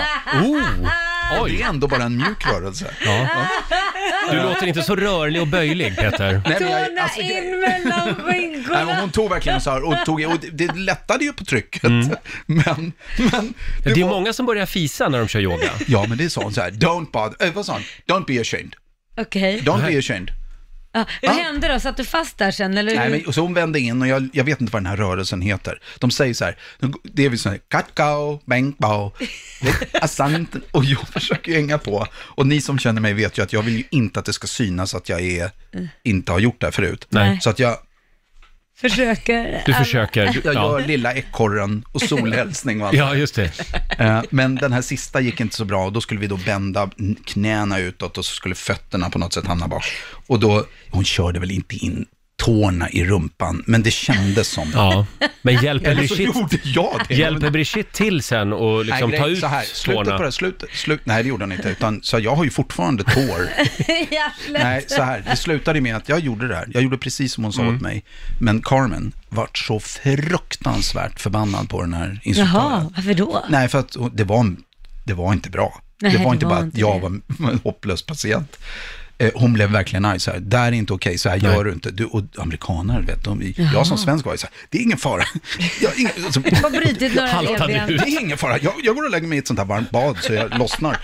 Och Det är ändå bara en mjuk rörelse.
Du låter inte så rörlig och böjlig, Peter.
Nej, men jag,
Tårna
alltså,
in mellan
Nej, men
skinkorna.
hon tog verkligen så här och, tog, och det, det lättade ju på trycket. Men, men det,
är många som börjar fisa när de kör yoga.
Ja, men det sa hon så här, don't bother, äh, vad sa hon? Don't be ashamed,
Okej.
don't be ashamed.
Ja, hur hände då? Satt du fast där sen eller?
Nej,
hur?
men, och så hon vände in och jag, jag vet inte vad den här rörelsen heter. De säger så här, det är väl så här, katkao, bengpao, asant, och jag försöker ju hänga på. Och ni som känner mig vet ju att jag vill ju inte att det ska synas att jag är, inte har gjort det här förut.
Nej.
Så att jag,
Försöker.
jag
Ja.
gör lilla ekorren och solhälsning och allt.
Ja, just det.
Eh, Men den här sista gick inte så bra och då skulle vi då bända knäna utåt och så skulle fötterna på något sätt hamna bak. Och då, hon körde väl inte in tårna i rumpan, men det kändes som det.
Ja, men hjälper
Eller så
Brigitte-
gjorde jag det.
Hjälper Brigitte till sen och liksom
Nej,
ta
grej-
ut
så här,
tårna?
Slutet på det, slutet, slut, nej det gjorde han inte, utan så jag har ju fortfarande tår.
Jävlar.
Nej, så här, det slutade med att jag gjorde det här. Jag gjorde precis som hon sa
Mm.
åt mig. Men Carmen vart så fruktansvärt förbannad på den här instruktören.
Jaha, varför då?
Nej, för att det var, det var inte bra.
Nej,
det var inte bara
inte
att jag var en hopplös patient. Eh, hon blev verkligen arg, så här, det här är inte okej, så här
Nej.
gör du inte. Du, och amerikaner, vet de,
Jaha.
jag som svensk var ju så här, det är ingen fara. Jag, har ingen, alltså,
Har brutit några
Haltade
revben.
ut. Det är ingen fara, jag, jag går och lägger mig i ett sånt här varmt bad så jag lossnar.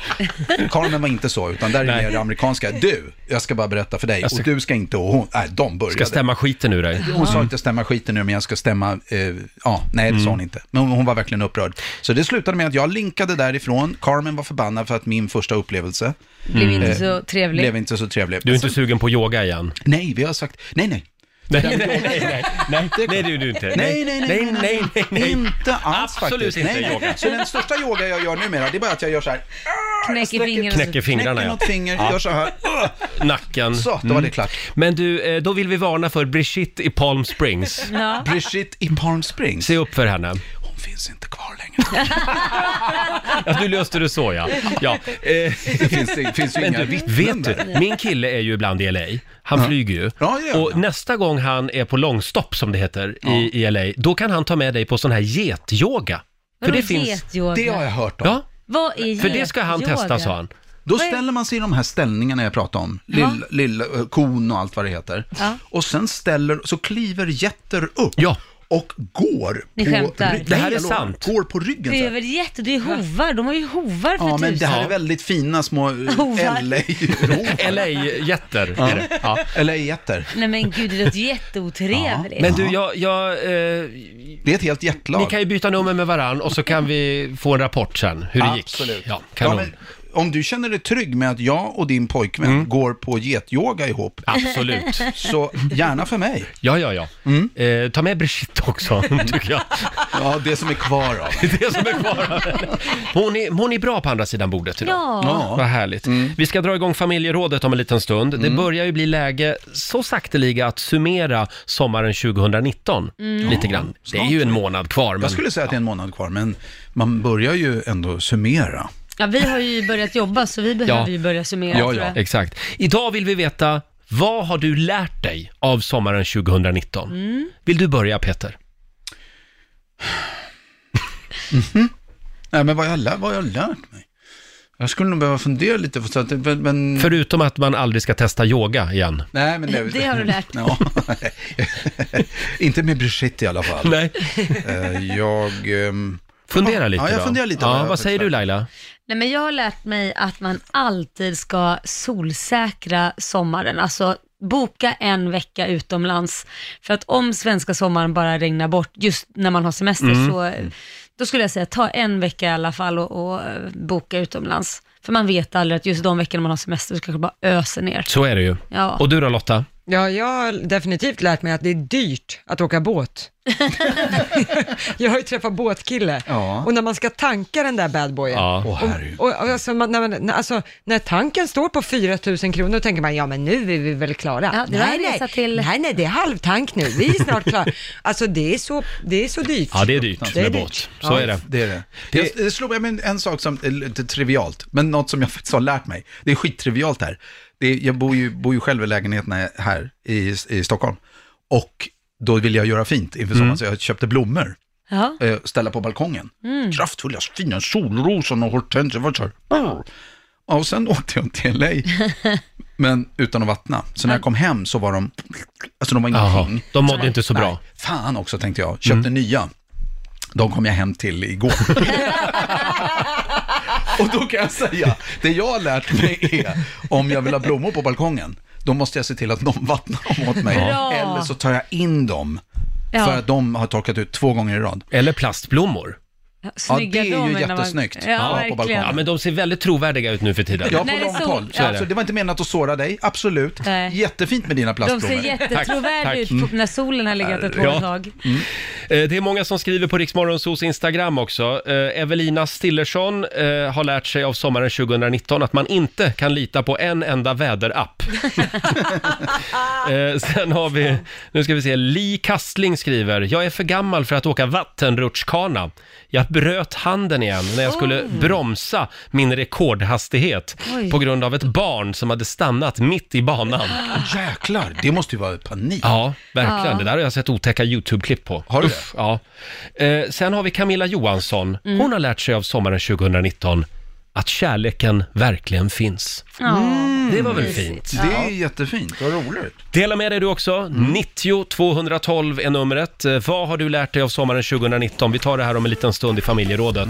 Carmen var inte så, utan där är mer det amerikanska. Du, jag ska bara berätta för dig,
Jag ska-
och du ska inte, och hon, nej, de började.
Ska stämma skiten ur dig.
Hon sa inte stämma skiten nu, men jag ska stämma, eh, ja, nej det
Mm.
sa hon inte. Men hon, hon var verkligen upprörd. Så det slutade med att jag linkade därifrån, Carmen var förbannad för att min första upplevelse
Blev inte
eh,
så trevlig.
Blev inte så trevlig. Alltså,
Du är inte sugen på yoga igen?
Nej, vi har sagt, nej nej.
Nej, nej, nej, nej, nej, nej, det är du inte.
Nej, nej, nej,
nej, nej, nej, nej.
Inte alls
Absolut
faktiskt.
inte
nej, nej.
yoga.
Så den största yoga jag gör numera, det är bara att jag gör så här,
Knäcker fingrarna.
Knäcker fingrarna,
knäcker
ja.
något finger,
Ja. Mm.
gör så här.
Nacken.
Så, då var det klart.
Men du, eh, då vill vi varna för Brigitte i Palm Springs.
Ja.
Brigitte i Palm Springs.
Se upp för henne.
Hon finns inte kvar längre.
Ja, du löste det så ja. ja. Det
finns, det finns ju
Men
inga
du, Vet
vittnen där.
du, min kille är ju ibland i LA. Han flyger ju. och nästa gång han är på långstopp som det heter i, i LA, då kan han ta med dig på sån här getyoga.
Vadå getyoga? Det har jag
hört om.
Ja,
Vad är
för det ska han
yoga?
testa sa han.
Då
Vad är-
ställer man sig i de här ställningarna jag pratade om, lill, lill, eh, kon och allt vad det heter.
Ja.
Och sen ställer, så kliver jätter upp och går
Ni
på
skämtar.
ryggen.
Det här
Nej,
är
jag lovar.
sant.
Går på ryggen
Det
så
är
här.
väl jätte, det är hovar, de har ju hovar för Oh,
Ja, men det
tusan.
här är väldigt fina små eh,
Hovar.
LA-hovar.
LA-jätter
Ja.
är det. Ja.
LA-jätter.
Nej men gud, det låter jätteotrevligt.
Men du, jag... jag eh,
det är ett helt jättelag.
Ni kan ju byta nummer med varann och så kan vi få en rapport sen hur det
Absolut.
gick. Ja,
Ja,
kanon.
men, om du känner dig trygg med att jag och din pojkvän går på getyoga ihop.
Absolut.
Så gärna för mig.
Ja, ja, ja.
Mm.
Eh, ta med Brigitte också, tycker jag.
Ja, det som är kvar av
Det som är kvar av henne. hon är, hon är bra på andra sidan bordet idag.
Ja. Ja.
Vad härligt.
Mm.
Vi ska dra igång familjerådet om en liten stund. Det börjar ju bli läge, så sakteliga, att summera sommaren 2019.
Mm.
Lite
Ja,
grann. Det är
snart.
ju en månad kvar.
Mm.
Men...
Jag skulle säga att det är en månad kvar, men man börjar ju ändå summera.
Ja, vi har ju börjat jobba så vi behöver ju börja summera tror jag.
Exakt. Idag vill vi veta, vad har du lärt dig av sommaren 2019?
Mm.
Vill du börja Peter?
Mm. Nej, men vad jag, har lä- vad jag har lärt mig? Jag skulle nog behöva fundera lite, för så att, det- men- men...
Förutom att man aldrig ska testa yoga igen.
Nej, men
Det har du lärt dig.
Ja. Inte med Brigitte i alla fall.
Nej.
Eh, Jag... ehm,
Fundera lite
Ja, jag
då.
funderar lite.
Ja,
jag
vad säger
faktiskt-
du Laila?
Nej, men jag har lärt mig att man alltid ska solsäkra sommaren, alltså boka en vecka utomlands. För att om svenska sommaren bara regnar bort just när man har semester,
Mm.
så, eh, då skulle jag säga ta en vecka i alla fall och, och eh, boka utomlands. För man vet aldrig att just de veckorna man har semester så kanske det bara öser ner.
Så är det ju.
Ja.
Och du då Lotta?
Ja, jag har definitivt lärt mig att det är dyrt att åka båt. jag har ju träffat båtkille
Ja.
och när man ska tanka den där badboyen,
Ja. Åh,
och,
herregud.
och, och alltså, man, när, man, när- alltså, när tanken står på 4 000 kronor, då tänker man ja men nu är vi väl klara.
Ja, det var en resa till-
nej, nej, det är halvtank nu, vi är snart klara. alltså det är så, det är så dyrt.
Ja, det är dyrt
Det är
med
dyrt.
båt. Så
Ja,
är det.
Det är det. Jag, det slog mig med en sak som är lite trivialt, men något som jag faktiskt har lärt mig. Det är skittrivialt här. Det är, jag bor ju, bor ju själv i lägenheten här- här i, i Stockholm. Och då ville jag göra fint inför
Mm.
sommaren, så jag köpte blommor.
Ja.
eh, ställa på balkongen.
Mm.
Kraftfulla, fina solrosen och hortensia. Det var så här, brr. Ja, och sen åkte jag till LA, men utan att vattna. Så när jag kom hem så var de, alltså de var ingenting.
de mådde inte så bra. Mm.
fan också tänkte jag, köpte nya. De kom jag hem till igår. och då kan jag säga, det jag har lärt mig är, om jag vill ha blommor på balkongen, då måste jag se till att någon vattnar dem åt mig.
Bra.
Eller så tar jag in dem,
Ja.
för att de har torkat ut två gånger i rad.
Eller plastblommor.
Ja, det är ju jättesnyggt.
Ja,
Ja, på
verkligen.
balkongen.
Ja, men de ser väldigt trovärdiga ut nu för tiden.
Ja, på
Nej, det är
långt
så-
håll.
ja.
Alltså, det var inte menat att såra dig, absolut.
Nej.
Jättefint med dina
De
plastblommor.
ser jättetrovärdiga ut på- när solen har legat ett
Ja.
hårt tag.
Eh, Det är många som skriver på Riksmorgonsos Instagram också. Eh, Evelina Stillersson eh, har lärt sig av sommaren 2019 att man inte kan lita på en enda väderapp. Eh, Sen har vi, nu ska vi se, Li Kastling skriver, jag är för gammal för att åka vattenrutschkana. Jag bröt handen igen när jag skulle
Oh.
bromsa min rekordhastighet
Oj.
på grund av ett barn som hade stannat mitt i banan.
Jäklar, det måste ju vara panik.
Ja, verkligen.
Ja.
Det där har jag sett otäcka YouTube-klipp på. Har du Uff, Ja. Eh, sen har vi Camilla Johansson. Hon har lärt sig av sommaren 2019 att kärleken verkligen finns.
Ja.
Det var väl fint?
Det är ju jättefint, vad roligt.
Dela med dig du också. 90 212 är numret. Eh, Vad har du lärt dig av sommaren 2019? Vi tar det här om en liten stund i familjerådet.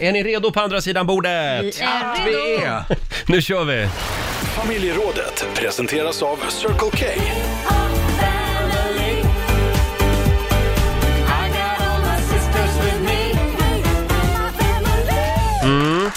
Är ni redo på andra sidan bordet?
Vi är Att vi redo. är.
Nu kör vi!
Familjerådet presenteras av Circle K.
Mm.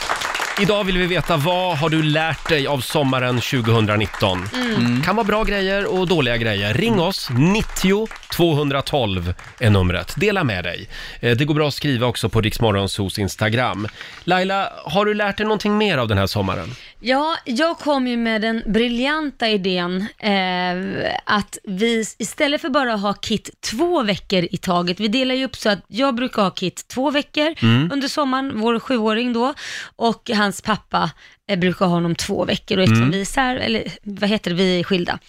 Idag vill vi veta vad har du lärt dig av sommaren 2019?
Mm.
Kan vara bra grejer och dåliga grejer. Ring oss, 90 212 är numret. Dela med dig. Eh, Det går bra att skriva också på Riksmorgonsos Instagram. Laila, har du lärt dig någonting mer av den här sommaren?
Ja, jag kom ju med den briljanta idén eh, att vi istället för bara ha kit två veckor i taget, vi delar ju upp så att jag brukar ha kit två veckor
Mm.
under sommaren, vår sjuåring då, och hans pappa eh, brukar ha honom två veckor och eftersom
Mm.
vi är isär, eller vad heter det, vi är skilda.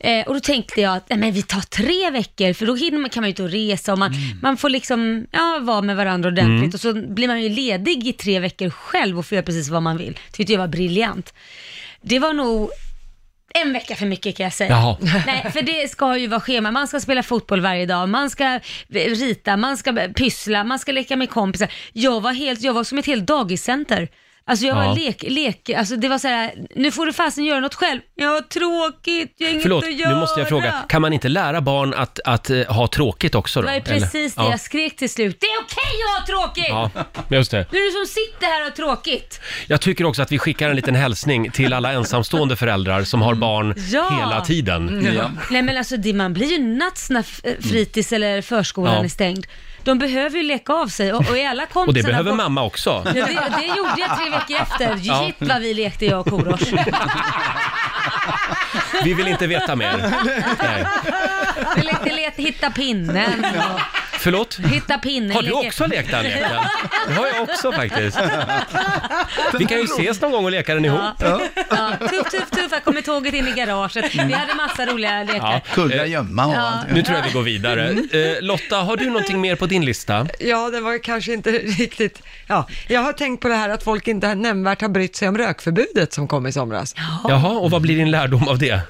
Eh, och då tänkte jag att nej, men vi tar tre veckor för då hinner man, kan man ju inte resa och man, man får liksom ja, vara med varandra
Mm.
ordentligt och så blir man ju ledig i tre veckor själv och får göra precis vad man vill. Tyckte jag var briljant. Det var nog en vecka för mycket kan jag säga.
Jaha.
Nej, för det ska ju vara schema. Man ska spela fotboll varje dag, man ska rita, man ska pyssla, man ska leka med kompisar. Jag var, helt, jag var som ett helt dagiscenter. Alltså jag var
Ja.
lek, lek, alltså det var så här, nu får du fasen göra något själv. Jag har tråkigt, jag har inget
Förlåt,
att göra.
nu måste jag fråga. Kan man inte lära barn att, att eh, ha tråkigt också
Det
då?
var ju precis det
Eller?
jag skrek till slut. Det är okej att ha tråkigt!
Ja. ja, just det.
Nu är du som sitter här och har tråkigt.
Jag tycker också att vi skickar en liten hälsning till alla ensamstående föräldrar som har barn
Ja.
hela tiden.
Mm. Nej men alltså det, man blir ju nuts när f- eh, fritids eller förskolan
Ja.
är stängd. De behöver ju leka av sig och, och är alla kompisarna
Och det behöver
bort-
mamma också.
Ja, det, det gjorde jag tre veckor efter.
Ja.
Jipp vad vi lekte jag och Korosh.
Vi vill inte veta mer. Nej.
Vi lekte let, hitta pinnen och
Förlåt?
hitta pinnen.
Har du också lekt den leken? Det har jag också faktiskt. Vi kan ju ses någon gång och leka den ihop.
Ja. Ja, tuff, tuff, tuff. Här kommer tåget in i garaget.
Mm.
Vi hade massa roliga lekar.
Kulla, gömma och
Ja.
allt.
Nu tror jag vi går vidare.
Mm.
Eh, Lotta, har du någonting mer på din lista?
Ja, det var kanske inte riktigt... Ja, jag har tänkt på det här att folk inte nämnvärt har brytt sig om rökförbudet som kom i somras.
Jaha, och vad blir din lärdom av det?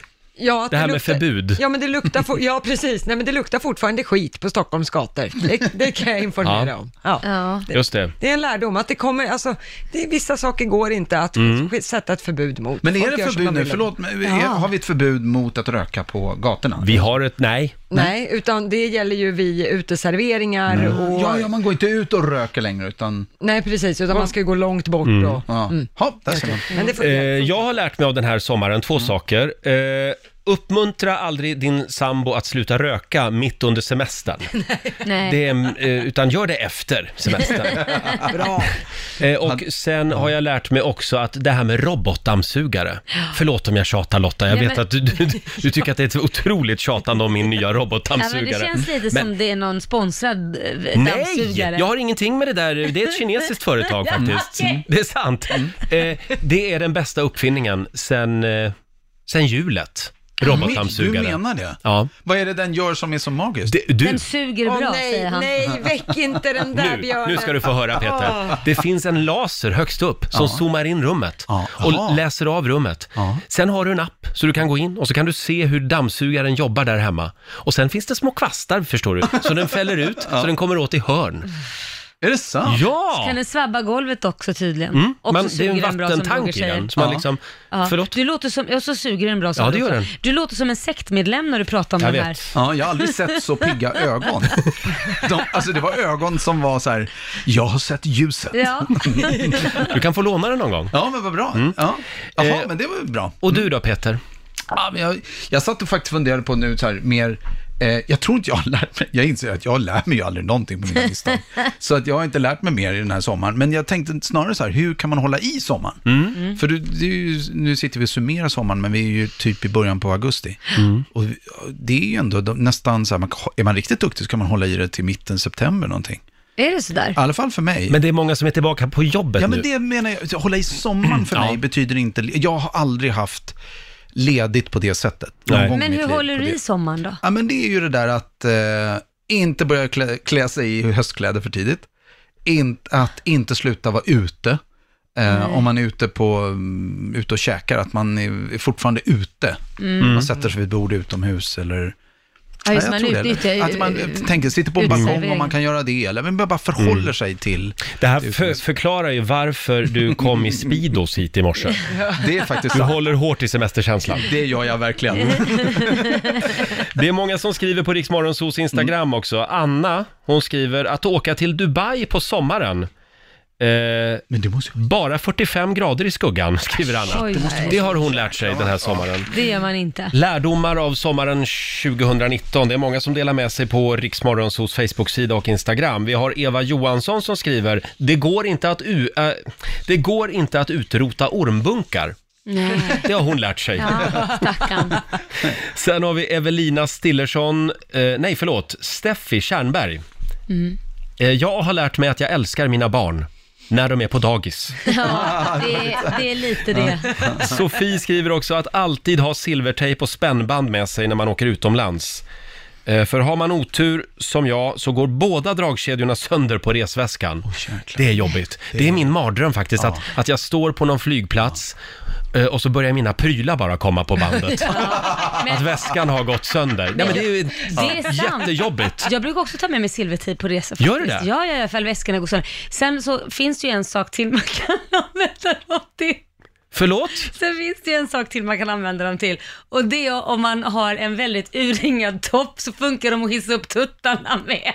Ja, att
Det här med
luktar-
förbud.
Ja, men det luktar, for, ja, precis. Nej, men det luktar fortfarande skit på Stockholms gator. Det, det kan jag informera
Ja.
om. Ja.
Just det.
Det är en lärdom att det kommer, alltså, det är, vissa saker går inte att sk- sätta ett förbud mot.
Mm. Men är
Folk
det
gör som
förbud
de
nu?
vill.
Förlåt, men är,
Ja.
har vi ett förbud mot att röka på gatorna?
Vi har ett nej.
Nej, utan det gäller ju vid uteserveringar och...
Ja, ja, man går inte ut och röker längre utan...
Nej, precis, utan man ska ju gå långt bort
Mm.
och...
Ja. Ja, där ser man.
Men det får,
Eh, jag har lärt mig av den här sommaren
Mm.
två saker. Eh, uppmuntra aldrig din sambo att sluta röka mitt under semestern.
Nej.
Det är, eh, utan gör det efter semestern.
Bra.
Eh, och sen har jag lärt mig också att det här med robotdammsugare. Förlåt om jag tjatar Lotta, jag
Nej,
vet
men-
att du, du, du tycker att det är ett otroligt tjatande om min nya
Ja, men det
robotdammsugare.
känns lite
Men-
som det är någon sponsrad eh,
Nej,
dammsugare.
jag har ingenting med det där. Det är ett kinesiskt företag faktiskt.
Mm.
Det är sant. Eh, det är den bästa uppfinningen sen, eh, sen hjulet. Robotdammsugare.
Du menar det?
Ja.
Vad är det den gör som är så magiskt?
Det, du,
Den suger
Åh,
bra
nej,
säger han.
nej, väck inte den där
nu,
björnen.
nu ska du få höra
Åh.
Ah.
Peter. Det finns en laser högst upp som
Ja.
zoomar in rummet och läser av rummet. Sen har du en app så du kan gå in och så kan du se hur dammsugaren jobbar där hemma. Och sen finns det små kvastar förstår du, så den fäller ut så den kommer åt i hörn.
Är det sant?
Ja!
Så kan den svabba golvet också tydligen.
Mm,
Och
men
så
det är
suger
en
den bra, som
vattentank
Roger
i den,
säger.
som man liksom- förlåt?
Du låter som, och så suger den bra som
Ja, det
Roger
gör den.
sa. Du låter som en sektmedlem när du pratar om
Jag
det här.
vet. Ja, jag har aldrig sett så pigga ögon. De, alltså det var ögon som var så här, jag har sett ljuset.
Ja.
Du kan få låna den någon gång.
Ja, men vad bra. Ja. Mm. Eh, Jaha, men det var ju bra.
Och du då Peter?
Ja, men jag, jag satt och faktiskt funderade på nu så här mer, eh, jag tror inte jag har lärt mig, jag inser att jag lär mig ju aldrig någonting på mina listor. så att jag har inte lärt mig mer i den här sommaren, men jag tänkte snarare så här, hur kan man hålla i sommaren? Mm. För du, det är ju, nu sitter vi och summerar sommaren, men vi är ju typ i början på augusti. Och vi- det är ju ändå de- nästan så här, man, kan- är man riktigt duktig så kan man hålla i det till mitten september någonting.
Är det
I
sådär?
alla fall för mig.
Men det är många som är tillbaka på jobbet
Ja, men
nu.
det menar jag. Hålla i sommaren för
Ja.
mig betyder inte... Jag har aldrig haft ledigt på det sättet. någon gång i
Men
mitt
hur
liv
håller
på
du
det.
i sommaren då?
Ja, men det är ju det där att eh, inte börja klä, klä sig i höstkläder för tidigt. In, att inte sluta vara ute. Eh,
Nej.
om man är ute, på, mm, ute och käkar, att man är, är fortfarande ute.
Mm.
Man sätter sig vid ett bord utomhus eller...
Ja, just
jag
man
tror det.
utnyttjar-
Att man eh, tänker, sitter på en balkong
Uteservering.
om man kan göra det, eller men bara förhåller
Mm.
sig till...
Det här för, förklarar ju varför du kom i Speedos hit i morse.
Det är faktiskt
Du
sant.
håller hårt i semesterkänslan.
Det gör jag verkligen.
Det är många som skriver på Riksmorgonsos Instagram
Mm.
också. Anna, hon skriver att åka till Dubai på sommaren. Eh,
Men det måste
Bara 45 grader i skuggan, skriver Anna.
Oj, Det måste vara-
det har hon lärt sig den här sommaren.
Det gör man inte.
Lärdomar av sommaren 2019. Det är många som delar med sig på Riksmorgonsos Facebook-sida och Instagram. Vi har Eva Johansson som skriver, det går inte att, u- äh, det går inte att utrota ormbunkar.
Nej.
Det har hon lärt sig.
Ja, stackarn.
Sen har vi Evelina Stillersson, eh, nej förlåt, Steffi Kärnberg.
Mm.
Eh, jag har lärt mig att jag älskar mina barn när de är på dagis.
Ja, det, är- det är lite det.
Sofie skriver också att alltid ha silvertejp och spännband med sig när man åker utomlands. Eh, För har man otur som jag så går båda dragkedjorna sönder på resväskan. det är jobbigt. Det är min mardröm faktiskt att, att jag står på någon flygplats eh, och så börjar mina prylar bara komma på bandet. Att väskan har gått sönder. Nej, men det är ju
Det är sant.
jättejobbigt.
Jag brukar också ta med mig silvertejp på resa.
Gör du
faktiskt.
det?
Ja, ja, ja, ifall väskorna går sönder. Sen så finns det ju en sak till man kan använda dem till.
Förlåt?
Sen finns det ju en sak till man kan använda dem till. Och det är om man har en väldigt urringad topp så funkar de att hissa upp tuttarna med.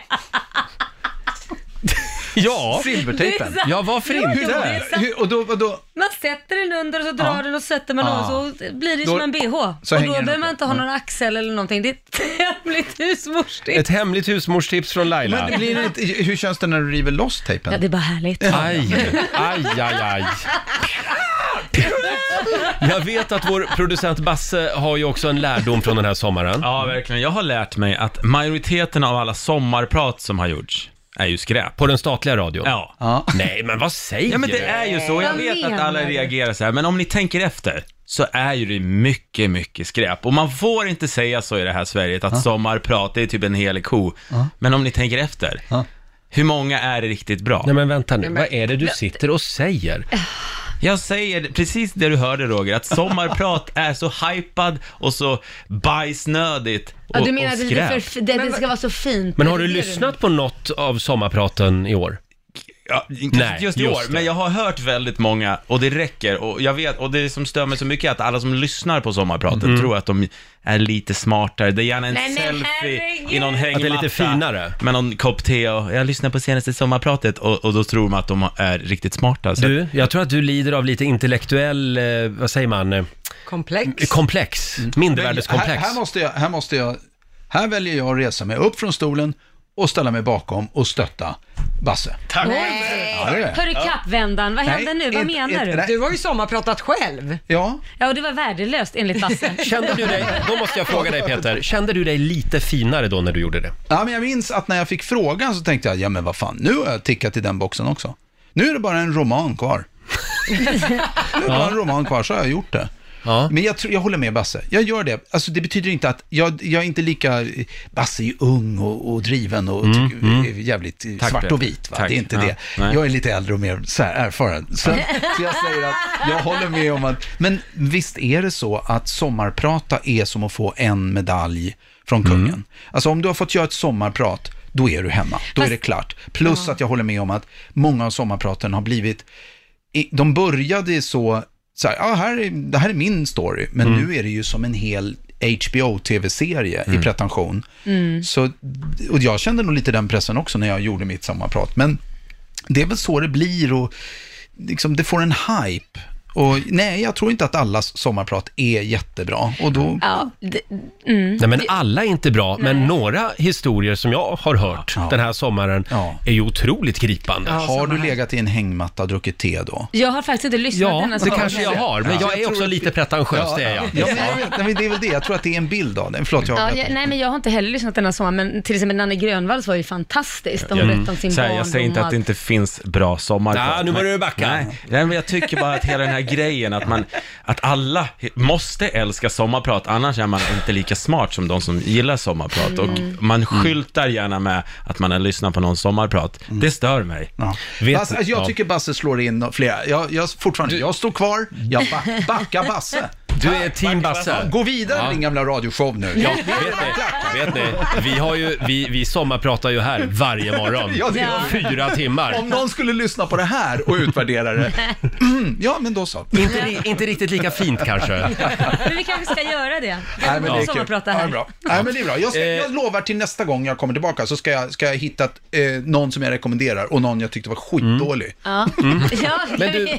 Ja,
silvertejpen.
Det är sant.
Ja, varför
Jo, jo,
inte?
det är sant.
Hur- Och då, och då,
Man sätter den under och så drar
Ja.
den och sätter man
Ja.
av så blir det
Då-
som en bh.
så
och då
hänger den
behöver man
uppe.
inte ha någon axel eller någonting. Det är ett hemligt husmorstips.
Ett hemligt husmorstips från Laila.
men det blir inte, hur känns det när du river loss tejpen?
Ja, det är bara härligt.
Aj, aj, aj, aj. Jag vet att vår producent Basse har ju också en lärdom från den här sommaren.
Ja, verkligen. Jag har lärt mig att majoriteten av alla sommarprat som har gjorts är ju skräp.
På den statliga radion?
Ja.
Nej, men vad säger
Ja, men
du?
det är ju så. Jag
Vad
vet att
menar
alla
du?
reagerar så här, men om ni tänker efter så är ju det mycket, mycket skräp. Och man får inte säga så i det här Sverige, att sommarprat, det är typ en helig ko. Men om ni tänker efter, hur många är det riktigt bra?
Nej men vänta nu, vad är det du sitter och säger?
Jag säger precis det du hörde Roger, att sommarprat är så hypad och så bajsnödigt och,
Ja, du menar
och
att det,
skräp.
är för, det, det ska vara så fint?
Men har du
Det är det
lyssnat på något av sommarpraten i år?
Ja, Kanske inte just i år, men jag har hört väldigt många och det räcker. Och jag vet, och det som stör mig så mycket är att alla som lyssnar på sommarpratet
Mm.
tror att de är lite smartare. Det är gärna en
Nej, men
selfie
herregud!
i någon
Att det är
hängmatta.
lite finare.
Med någon kopp te och jag lyssnar på senaste sommarpratet och, och då tror man att de är riktigt smarta. Så
Du, jag tror att du lider av lite intellektuell, eh, vad säger man? eh,
Komplex.
Komplex.
Här,
Mindervärdeskomplex.
här, måste jag, här måste jag, här väljer jag att resa mig upp från stolen och ställa mig bakom och stötta Basse.
Oj.
Ja, det är det.
Hörru kappvändan, vad
Nej,
hände nu? Vad
inte-
menar
inte-
du?
nej. Du
har ju sommarpratat själv.
Ja.
Ja, och det var värdelöst enligt Basse.
Kände du dig, då måste jag fråga dig Peter, kände du dig lite finare då när du gjorde det?
Ja, men jag minns att när jag fick frågan så tänkte jag, ja men vad fan, nu har jag tickat i den boxen också. Nu är det bara en roman kvar. Nu är det bara en roman kvar, så har jag gjort det. Men jag, tror, jag håller med Basse, jag gör det. Alltså det betyder inte att, jag, jag är inte lika, Basse är ju ung och, och driven och tycker, är jävligt
Mm, Tack,
svart
Peter.
och vit. Va?
Tack.
Det är inte
Ja,
det.
nej.
Jag är lite äldre och mer så här erfaren. Så, så jag säger att jag håller med om att, men visst är det så att sommarprata är som att få en medalj
Mm.
från kungen. Alltså om du har fått göra ett sommarprat, då är du hemma. Då är det klart. Plus att jag håller med om att många av sommarpraten har blivit, i- de började så, så här, ah, här är, det här är min story, men nu är det ju som en hel HBO-tv-serie i pretension.
Mm.
Så, och jag kände nog lite den pressen också när jag gjorde mitt sommarprat. Men det är väl så det blir och liksom, det får en hype. Och nej, jag tror inte att allas sommarprat är jättebra. Och då...
Ja, det, mm.
Nej men alla är inte bra, men några historier som jag har hört den här sommaren är ju otroligt gripande.
Ja,
Har du legat i en hängmatta och druckit te då?
Jag har faktiskt inte lyssnat
Ja,
denna
det
sommar.
kanske jag har, men
Ja.
jag är också lite pretentiös, det är jag.
Ja, men jag vet, nej, men det är väl det. Jag tror att det är en bild av den. Förlåt, jag
Ja,
har
jag, nej men jag har inte heller lyssnat denna sommar, men till exempel Nanne Grönvalls var ju fantastiskt. De
Mm.
berättade om sin
Så här,
barndom.
jag säger inte
och
att det inte finns bra sommarprat.
Nej, nu börjar
men-
du backa.
Nej, nej, men jag tycker bara att hela den här grejen att, man, att alla måste älska sommarprat, annars är man inte lika smart som de som gillar sommarprat.
Mm.
Och man skyltar gärna med att man har lyssnat på någon sommarprat.
Mm.
Det stör mig. Vet-
Basse, alltså, jag
Ja.
tycker Basse slår in flera. Jag, jag, fortfarande, jag står kvar, jag back, backar Basse.
Du är team Basse.
Gå vidare med din gamla radioshow nu.
Ja, vet ni, vet ni vi, har ju, vi, vi sommarpratar ju här varje morgon.
Ja, det gör vi.
Fyra timmar.
Om någon skulle lyssna på det här och utvärdera det, mm, ja men då så.
Inte, ri- inte riktigt lika fint kanske.
Men vi kanske ska göra det.
Nej, men det är kul.
Sommarprata
Ja, det
här.
är bra. Nej, men det är bra. Jag, ska, jag lovar till nästa gång jag kommer tillbaka så ska jag, ska jag hitta ett, eh, någon som jag rekommenderar och någon jag tyckte var skitdålig.
Ja.
Mm.
ja
Men du,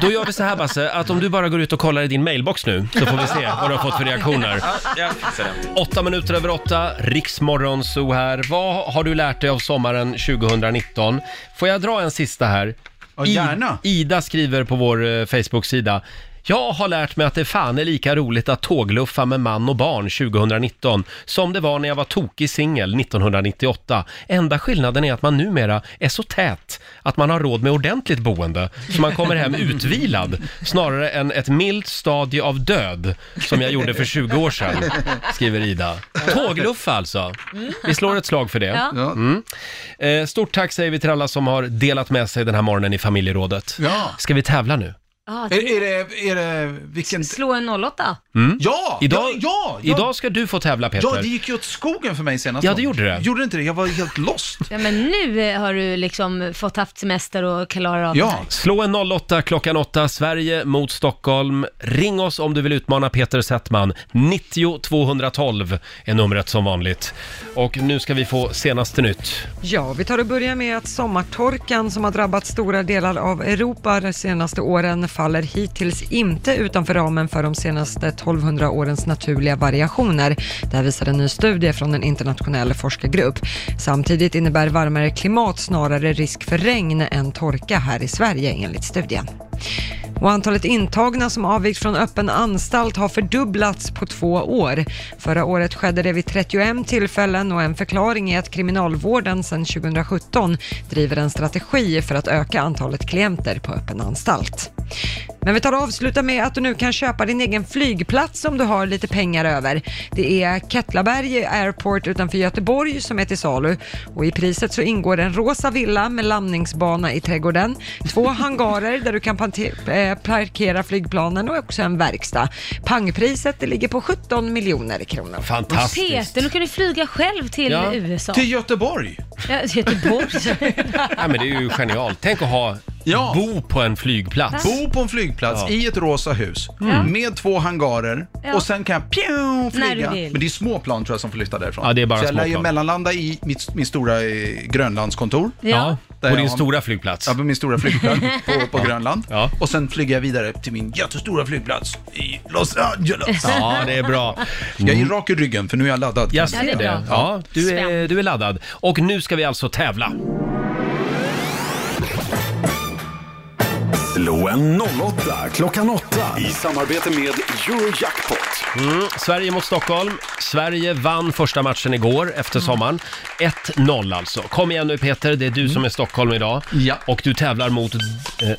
då gör vi så här Basse, att om du bara går ut och kollar i din mailbox nu så får vi se vad du har fått för reaktioner. Åtta minuter över åtta, Riksmorgon Zoo här. Vad har du lärt dig av sommaren 2019? Får jag dra en sista här? I-
gärna.
Ida skriver på vår eh, Facebook-sida. Jag har lärt mig att det fan är lika roligt att tågluffa med man och barn 2019 som det var när jag var tokig singel 1998. Enda skillnaden är att man numera är så tät att man har råd med ordentligt boende. Så man kommer hem utvilad snarare än ett milt stadie av död som jag gjorde för 20 år sedan, skriver Ida. Tågluffa alltså. Vi slår ett slag för det.
Ja. Ja.
Mm. Eh, Stort tack säger vi till alla som har delat med sig den här morgonen i familjerådet.
Ja.
Ska vi tävla nu?
Ja,
Är, är det, är det, vilken...
Slå en 08.
Mm.
Ja,
Idag,
ja, ja, ja.
Idag ska du få tävla Peter.
Ja, det gick ju åt skogen för mig senast.
Ja, det gjorde det.
Gjorde det inte det? Jag var helt lost.
Ja, men nu eh, har du liksom fått haft semester och klarar av det här.
Slå en 08 klockan 8, Sverige mot Stockholm. Ring oss om du vill utmana Peter Settman. 90 212 är numret som vanligt. Och nu ska vi få senaste nytt.
Ja, vi tar och börjar med att sommartorkan som har drabbat stora delar av Europa de senaste åren faller hittills inte utanför ramen för de senaste 1200 årens naturliga variationer. Det här visar en ny studie från en internationell forskargrupp. Samtidigt innebär varmare klimat snarare risk för regn än torka här i Sverige enligt studien. Och antalet intagna som avvikt från öppen anstalt har fördubblats på två år. Förra året skedde det vid 31 tillfällen och en förklaring är att Kriminalvården sedan 2017 driver en strategi för att öka antalet klienter på öppen anstalt. Men vi tar och avslutar med att du nu kan köpa din egen flygplats om du har lite pengar över. Det är Kettlaberg Airport utanför Göteborg som är till salu och i priset så ingår en rosa villa med landningsbana i trädgården, två hangarer där du kan pante- eh, parkera flygplanen och också en verkstad. Pangpriset det ligger på 17 miljoner kronor.
Peter, nu kan du flyga själv till
Ja.
USA.
Till
Göteborg.
Ja, till Göteborg.
Ja, men det är ju genialt. Tänk att ha, bo på en flygplats.
Bo på en flygplats
Ja.
i ett rosa hus
Mm.
med två hangarer
Ja.
och sen kan jag pjong,
När du
flyga.
vill.
Men det är små plan tror jag som får flytta därifrån.
Ja, det är bara
Så jag
små
lär ju
plan.
mellanlanda i mitt, min stora eh, Grönlandskontor.
Ja.
Där
På
jag
din
har-
stora flygplats.
Ja, på min stora flygplats på, på
Ja.
Grönland. Och sen flyger jag vidare till min jättestora flygplats i Los Angeles.
Ja, det är bra.
Jag är rak i ryggen för nu är jag laddad.
Jag ser det. Ja, du är, du är laddad. Och nu ska vi alltså tävla.
Slå en 08 klockan 8 i samarbete med Eurojackpot.
Mm, Sverige mot Stockholm. Sverige vann första matchen igår efter sommaren. 1-0 alltså. Kom igen nu Peter, det är du som är Stockholm idag. Ja. Och du tävlar mot... Eh,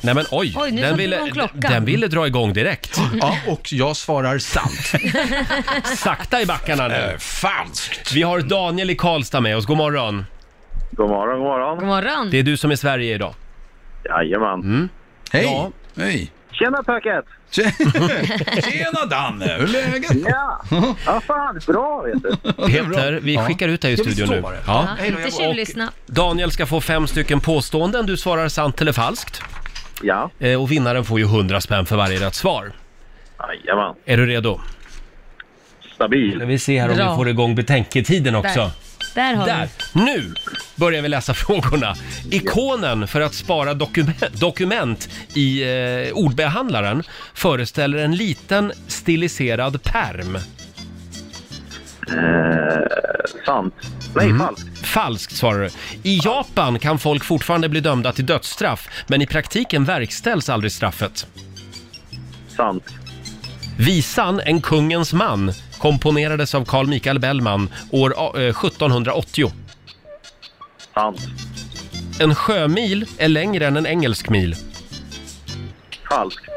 nej men oj!
Oj, nu
den,
satte
ville,
hon klockan.
den ville dra igång direkt.
Ja, och jag svarar sant. Äh,
Sakta i backarna nu.
falskt!
Vi har Daniel i Karlstad med oss. God morgon.
God morgon, god morgon.
God morgon.
Det är du som är Sverige idag.
Jajamän.
Mm.
Hej! Hej!
Tjena pöket!
Tjena Danne! Hur är läget?
Ja, ja fan, bra vet du.
Peter, vi skickar ut dig i
Ja, vi
studion
står
nu.
bara.
Ja.
Ja, inte tjuvlyssna.
Daniel ska få fem stycken påståenden. Du svarar sant eller falskt. Eh,
Ja.
Och vinnaren får ju 100 spänn för varje rätt svar.
Jajamän,
Är du redo?
stabil.
Ska vi se här om
Bra.
vi får igång betänketiden också.
Där, Där har
Där!
du.
Nu börjar vi läsa frågorna. Ikonen för att spara dokument, dokument i eh, ordbehandlaren föreställer en liten stiliserad pärm.
Eh, sant. Nej, falskt.
Falskt svarar du. I Japan kan folk fortfarande bli dömda till dödsstraff, men i praktiken verkställs aldrig straffet.
Sant.
Visan En kungens man komponerades av Carl Michael Bellman år eh, 1780.
Sant.
En sjömil är längre än en engelsk mil.
Falskt.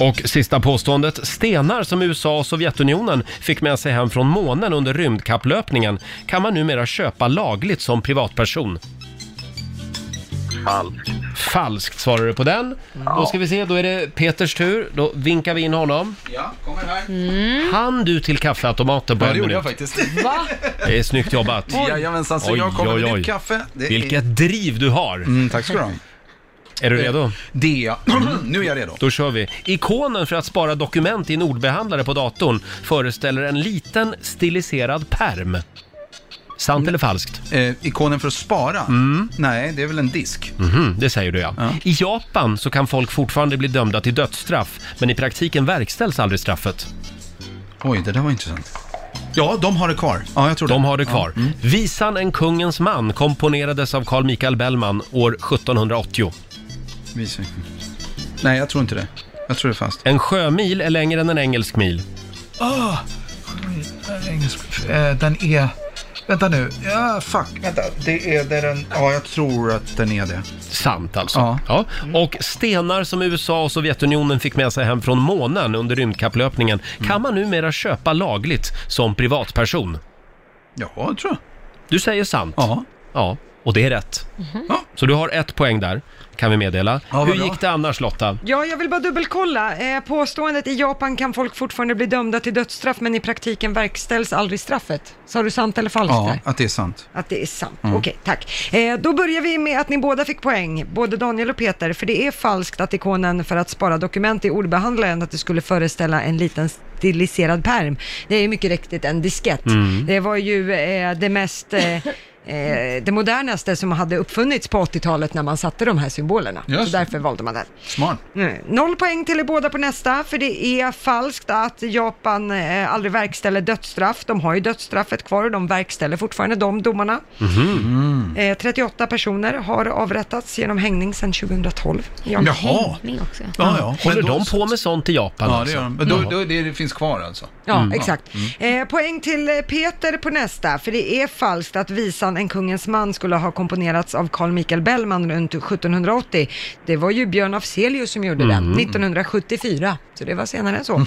Och sista påståendet. Stenar som USA och Sovjetunionen fick med sig hem från månen under rymdkapplöpningen kan man numera köpa lagligt som privatperson.
Falskt.
Falskt svarar du på den. Då ska vi se, då är det Peters tur. Då vinkar vi in honom.
Ja, kommer här.
Han du till kaffeautomaten på
Mm. Ja,
en
det gjorde jag
minut?
faktiskt.
Va?
Det är snyggt jobbat.
Oj. Jajamensan, så jag kommer med nytt kaffe. Mm. Det är-
Vilket driv du har.
tack ska du ha.
Är du redo?
Det är jag. nu är jag redo.
Då kör vi. Ikonen för att spara dokument i en ordbehandlare på datorn föreställer en liten stiliserad perm. Sant eller falskt?
Eh, ikonen för att spara?
Mm.
Nej, det är väl en disk.
Mhm, det säger du ja. I Japan så kan folk fortfarande bli dömda till dödsstraff, men i praktiken verkställs aldrig straffet.
Oj, det där var intressant. Ja, de har det kvar. Ja, jag tror
De har det kvar. Visan En kungens man komponerades av Carl Michael Bellman år 1780.
Visa. Nej, jag tror inte det. Jag tror det är fast.
En sjömil är längre än en engelsk mil.
Ah! Engelsk. Eh, den är... Vänta nu. Ja, fuck. Vänta. Det är, det är den... Ja, jag tror att den är det.
Sant alltså. Ja. Och stenar som USA och Sovjetunionen fick med sig hem från månen under rymdkapplöpningen kan man numera köpa lagligt som privatperson.
Ja, jag tror jag.
Du säger sant. Ja. Ja, och det är rätt.
Mm-hmm.
Så du har ett poäng där, kan vi meddela. Hur
bra.
gick det annars Lotta?
Ja, jag vill bara dubbelkolla. Eh, påståendet i Japan kan folk fortfarande bli dömda till dödsstraff, men i praktiken verkställs aldrig straffet. Sa du sant eller falskt
Ja,
där?
att det är sant.
Att det är sant.
Mm.
Okej, tack. Eh, då börjar vi med att ni båda fick poäng, både Daniel och Peter, för det är falskt att ikonen för att spara dokument i ordbehandlaren att det skulle föreställa en liten stiliserad perm. Det är ju mycket riktigt en diskett.
Mm.
Det var ju eh, det mest eh, Eh, det modernaste som hade uppfunnits på 80-talet när man satte de här symbolerna.
Just
Så därför valde man den.
Smart.
Mm. Noll poäng till er båda på nästa, för det är falskt att Japan eh, aldrig verkställer dödsstraff. De har ju dödsstraffet kvar och de verkställer fortfarande de domarna.
Mhm.
Eh, 38 personer har avrättats genom hängning sedan 2012. i Japan.
Jaha. Ja, ja.
Håller de på med sånt i Japan
Ja, det
alltså?
gör de. Men då,
Jaha.
då, det, det finns kvar alltså?
Ja, exakt. Eh, poäng till eh, Peter på nästa, för det är falskt att visan En kungens man skulle ha komponerats av Carl Michael Bellman runt 1780. Det var ju Björn Afzelius som gjorde
Mm.
den, 1974, så det var senare än så.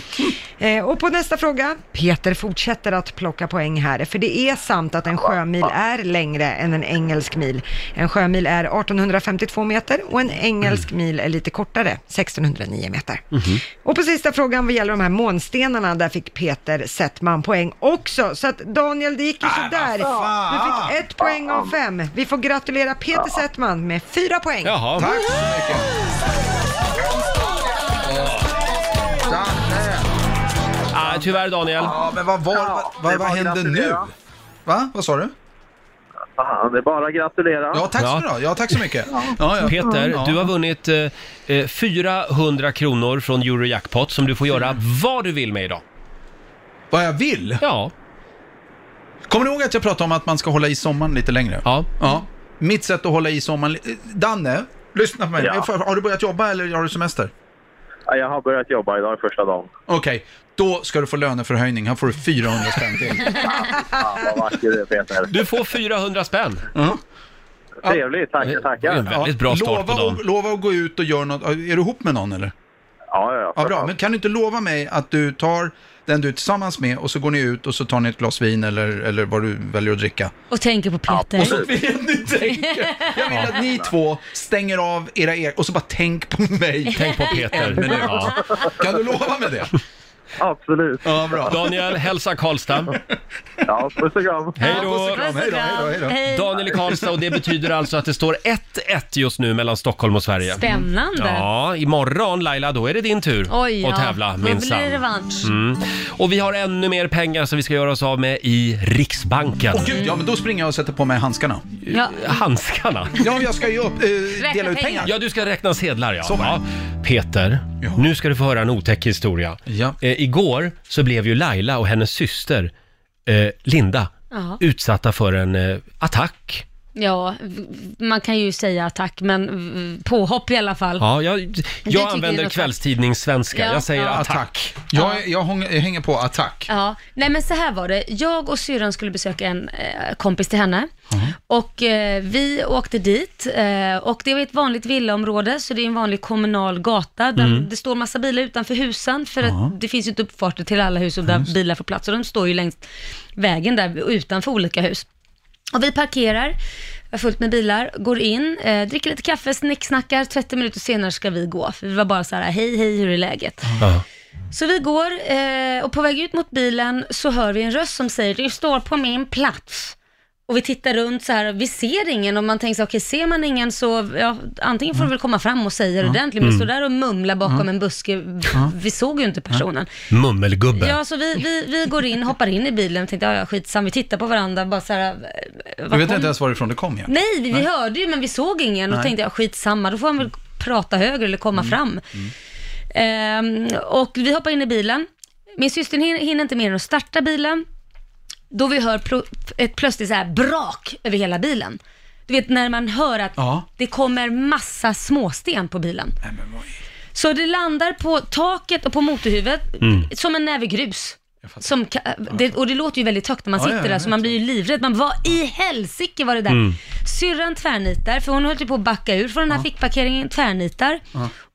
eh, och på nästa fråga, Peter fortsätter att plocka poäng här, för det är sant att en sjömil är längre än en engelsk mil. En sjömil är 1852 meter och en engelsk
Mm.
mil är lite kortare, 1609 meter.
Mhm.
Och på sista frågan vad gäller de här månstenarna, där fick Peter Settman poäng också. Så att Daniel, det gick ju sådär. Du fick ett poäng av fem. Vi får gratulera Peter Settman med fyra poäng.
Jaha.
Tack så mycket.
Ah, tyvärr Daniel.
Ja, men vad, var, vad, vad, vad hände nu? Va? Vad sa du?
Fan, det är bara att gratulera.
Ja, tack ska du ha. Ja, tack så mycket. Ja, ja.
Peter,
Ja.
du har vunnit eh, eh, 400 kronor från Eurojackpot som du får göra vad du vill med idag.
Vad jag vill?
Ja.
Kommer du ihåg att jag pratade om att man ska hålla i sommaren lite längre?
Ja.
ja. Mitt sätt att hålla i sommaren... li- Danne, lyssna på mig.
Ja.
Har du börjat jobba eller har du semester?
Ja, Jag har börjat jobba idag första dagen.
Okej, då ska du få löneförhöjning. Här får du 400 spänn till.
Fan vad vacker du är Peter.
Du får 400 spänn.
Trevligt, tackar,
Det är en
tackar.
väldigt bra start
lova
på dagen.
Och, lova att gå ut och göra något. Är du ihop med någon eller?
Ja, ja,
Ja, bra. Men kan du inte lova mig att du tar den du är tillsammans med och så går ni ut och så tar ni ett glas vin eller, eller vad du väljer att dricka.
Och tänker på Peter.
Och så
Mm.
vill jag att ni tänker. Jag vill att ni två stänger av era er och så bara tänk på mig.
Tänk på Peter.
En minut.
Ja.
Kan du lova mig det?
Absolut.
Ja, bra.
Daniel, hälsa Karlstad.
Ja, puss och kram.
Hej då!
och kram. Hej då, hej då, hej då.
Hej.
Daniel i Karlstad och det betyder alltså att det står 1-1 just nu mellan Stockholm och Sverige.
Spännande.
Ja, imorgon Laila, då är det din tur
Oj,
att
ja.
tävla
Då
minsann.
blir det revansch.
Mm. Och vi har ännu mer pengar som vi ska göra oss av med i Riksbanken.
Åh gud, ja men då springer jag och sätter på mig handskarna.
Ja.
Handskarna.
Ja, jag ska ju upp, eh, dela ut pengar.
Ja, du ska räkna sedlar ja.
Så var
ja. Peter, nu ska du få höra en otäck historia. Eh, igår så blev ju Laila och hennes syster eh, Linda
Ja.
utsatta för en eh, attack
Ja, v- v- man kan ju säga tack, men v- påhopp i alla fall.
Ja, jag,
tycker jag
jag
är
använder
något-
kvällstidningssvenska.
Ja,
jag säger
ja.
attack.
Jag, jag hång- jag hänger på attack.
Ja, nej men så här var det. Jag och syrran skulle besöka en eh, kompis till henne
Mm.
och eh, vi åkte dit eh, och det var ett vanligt villaområde så det är en vanlig kommunal gata där
Mm.
det står massa bilar utanför husen för att
Ja.
det finns ju inte uppfarter till alla hus och där
Just.
bilar får plats och de står ju längs vägen där utanför olika hus. Och vi parkerar, är fullt med bilar, går in, eh, dricker lite kaffe, snicksnackar, 30 minuter senare ska vi gå. För vi var bara så här, hej hej, hur är läget?
Ja.
Så vi går eh, och på väg ut mot bilen så hör vi en röst som säger du står på min plats. Och vi tittar runt så här, vi ser ingen och man tänker så här, okej ser man ingen så, ja, antingen får du väl komma fram och säga det
Ja.
ordentligt, men
Mm.
stå där och mumla bakom
Ja.
en buske,
Ja.
vi såg ju inte personen.
Mummelgubben.
Ja, så vi, vi, vi går in, hoppar in i bilen och tänkte, ja, ja skitsam, vi tittar på varandra, bara så här, eh,
Du
vad
vet
kom-
inte ens varifrån det kom ja.
Nej, vi, vi hörde ju men vi såg ingen och
Nej. Mm.
tänkte, ja skitsamma, då får han väl prata högre eller komma fram. Ehm, och vi hoppar in i bilen. Min syster hin- hinner inte mer än att starta bilen. Då vi hör pro- ett plötsligt så här brak över hela bilen. Du vet när man hör att
Ja.
det kommer massa småsten på bilen. Så det landar på taket och på motorhuvudet
Mm.
som en näve grus. Som, ka- det, och det låter ju väldigt högt när man
Ja,
sitter
ja, jag
där, så
vet.
man blir ju livrädd. Man, vad i helsike var det där?
Mm.
Syrran tvärnitar, för hon höll ju på att backa ur från den här
Ja.
fickparkeringen, tvärnitar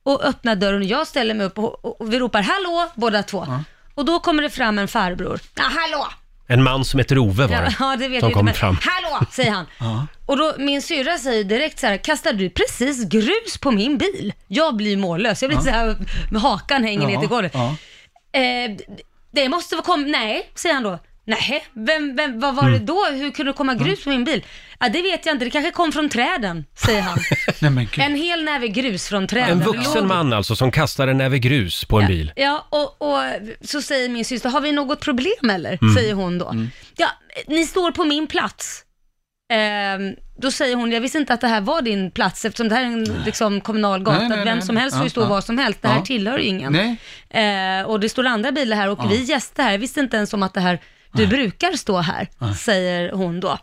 och öppnar dörren och jag ställer mig upp och, och, och vi ropar hallå båda två. Och då kommer det fram en farbror. Ja, hallå!
En man som heter Ove var det.
Ja, det vet
som
jag
kom
inte,
fram.
Hallå, säger han.
Ja.
Och då, min syrra säger direkt så här, kastar du precis grus på min bil? Jag blir mållös, jag blir
Ja.
så här, med hakan hänger ner
Ja,
till golvet.
ja.
Eh, det måste vara kom... Nej, säger han då. Nej, vem, vem, vad var
Mm.
det då? Hur kunde det komma grus på min bil? Ja, det vet jag inte, det kanske kom från träden, säger han.
Nej, men
en hel näve grus från träden.
En
Det låg-
vuxen man alltså som kastar en näve grus på en bil.
Ja, och, och så säger min syster, har vi något problem eller?
Mm.
Säger hon då. Ja, ni står på min plats. Ehm, då säger hon, jag visste inte att det här var din plats eftersom det här är en liksom, kommunal gata.
Nej, nej,
Vem
nej.
som helst får ju
Ja,
stå
ja.
var som helst. Det här
Ja.
tillhör ju ingen.
Nej.
Ehm, och det står andra bilar här och
Ja.
vi gäster här. Jag visste inte ens om att det här, du brukar stå här,
Nej.
säger hon då.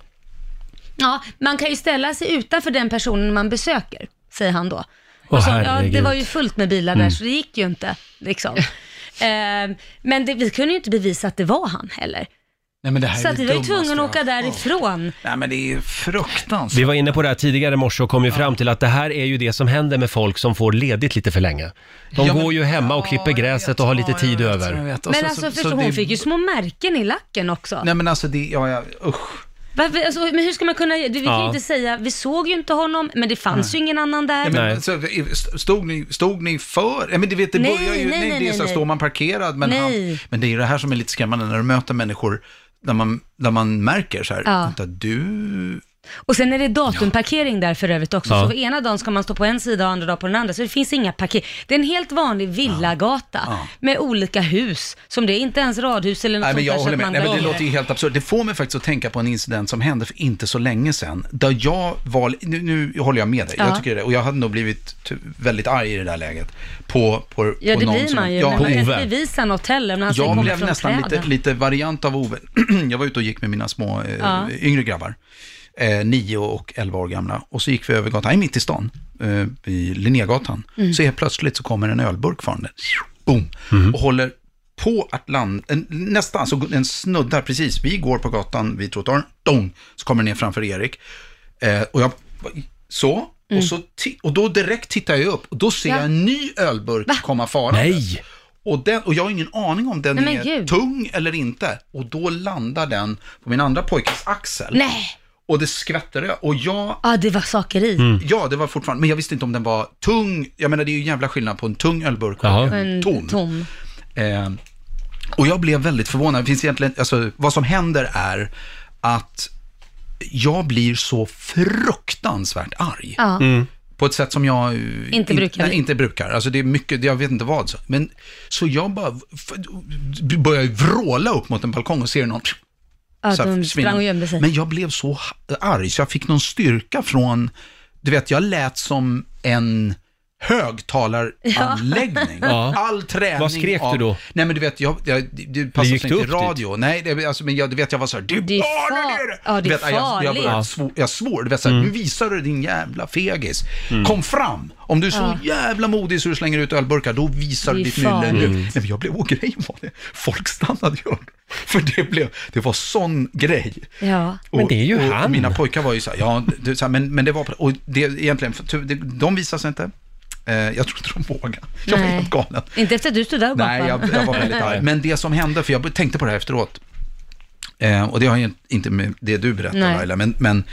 Ja, man kan ju ställa sig utanför den personen man besöker, säger han då.
Åh,
Och så, Alltså, ja, det
herregud.
var ju fullt med bilar där,
Mm.
så det gick ju inte. Liksom. Ehm, men det, vi kunde ju inte bevisa att det var han heller.
Nej, men det här
så
är
att
det
vi var ju
dummaste
tvungna
jag-
att åka därifrån.
Nej men det är ju fruktansvärt.
Vi var inne på det här tidigare i morse och kom ju fram till att det här är ju det som händer med folk som får ledigt lite för länge. De
Ja, men-
går ju hemma och klipper gräset och har lite tid över.
Men alltså förstå, hon fick ju små märken i lacken också.
Nej men alltså det, ja, ja usch.
Varför, alltså, men hur ska man kunna, du, vi kan ju
Ja.
inte säga, vi såg ju inte honom, men det fanns
Nej.
ju ingen annan där.
Ja, men, så, stod, ni, stod ni för? Ja, men du vet, det
Nej,
börjar ju,
nej,
nej,
nej,
det är så här,
nej.
står man parkerad? Men,
Nej.
han, men det är ju det här som är lite skrämmande när du möter människor där man, där man märker så här,
Ja.
vänta du...
Och sen är det datumparkering där för övrigt också,
Ja.
så ena dagen ska man stå på en sida och andra dagen på den andra, så det finns inga parker. Det är en helt vanlig villagata
Ja.
med olika hus, som det är inte ens radhus eller något
Nej,
sånt
men jag
där, så
håller
att
med.
man
Nej, men det
behöver-
låter ju helt absurt. Det får mig faktiskt att tänka på en incident som hände för inte så länge sedan. Där jag var, nu, nu håller jag med dig,
Ja.
jag tycker det. Och jag hade nog blivit ty- väldigt arg i det där läget. På, på,
Ja,
på
det
någon
blir
som,
man ju, men man kan inte bevisa något heller, när han säger
Jag
Alltså, kommer
blev
från
nästan
träden.
lite, lite variant av Ove. jag var ute och gick med mina små eh,
Ja.
yngre grabbar, eh, nio och elva år gamla. Och så gick vi över gatan, nej, mitt i stan, eh, i Linnégatan.
Mm.
Så helt plötsligt så kommer en ölburk farande, boom, och håller på att landa, en- nästan, så den snuddar precis, vi går på gatan vid trottoaren, dong, så kommer den ner framför Erik. Eh, och jag, så,
Mm.
och, så ti- och då direkt tittar jag upp och då ser
Ja.
jag en ny ölburk komma farande.
Nej!
Och, den, och jag har ingen aning om den
Nej, men
är
gud.
tung eller inte. Och då landar den på min andra pojkes axel.
Nej,
Och det skvätter ö- Och jag...
ja det var saker i.
Ja, det var fortfarande, men jag visste inte om den var tung. Jag menar, det är ju en jävla skillnad på en tung ölburk och en
En
tom.
tom.
Eh, och jag blev väldigt förvånad. Det finns egentligen, alltså, vad som händer är att jag blir så fruktansvärt arg.
Ja. Mm.
På ett sätt som jag eh,
Inte brukar
nej,
vi.
inte brukar. Alltså det är mycket, jag vet inte vad. Så, men, så jag bara f- börjar ju vråla upp mot en balkong och ser någon
Ja,
så här
de
försvinner.
sprang och gömde sig.
Men jag blev så ha- arg så jag fick någon styrka från, du vet, jag lät som en högtalaranläggning.
Ja.
All träning
Vad skrek
av...
du då?
Nej men du vet, jag, jag, det- det passade
gick
sig
du
inte i
upp dit?
radio. Nej, det, alltså, men jag, du vet jag var så här, du
Det är
barnen är
far-
det!
ja, det är
Du vet, jag, jag, började
farligt.
svor, jag svor, du vet så här,
Mm.
nu visar du din jävla fegis. Kom fram! Om du är så
Ja.
jävla modig så du slänger ut ölburkar, då visar
Det
du
är
ditt mylle.
farligt.
nu." Nej men jag blev, och grejen var det, folk stannade ju upp. För det blev, det var sån grej.
Ja.
Och- och, Och mina pojkar var ju så här, ja, det, så här, men, men det var, och det egentligen, för, ty- det, de visade sig inte. Eh, jag tror inte de vågade. Jag var
Nej.
helt galen.
Inte efter att du stod där och
Nej, jag,
gapade.
jag var väldigt arg. Men det som hände, för jag tänkte på det här efteråt, eh, och det har ju inte med det du berättar
Nej.
Laila, men, men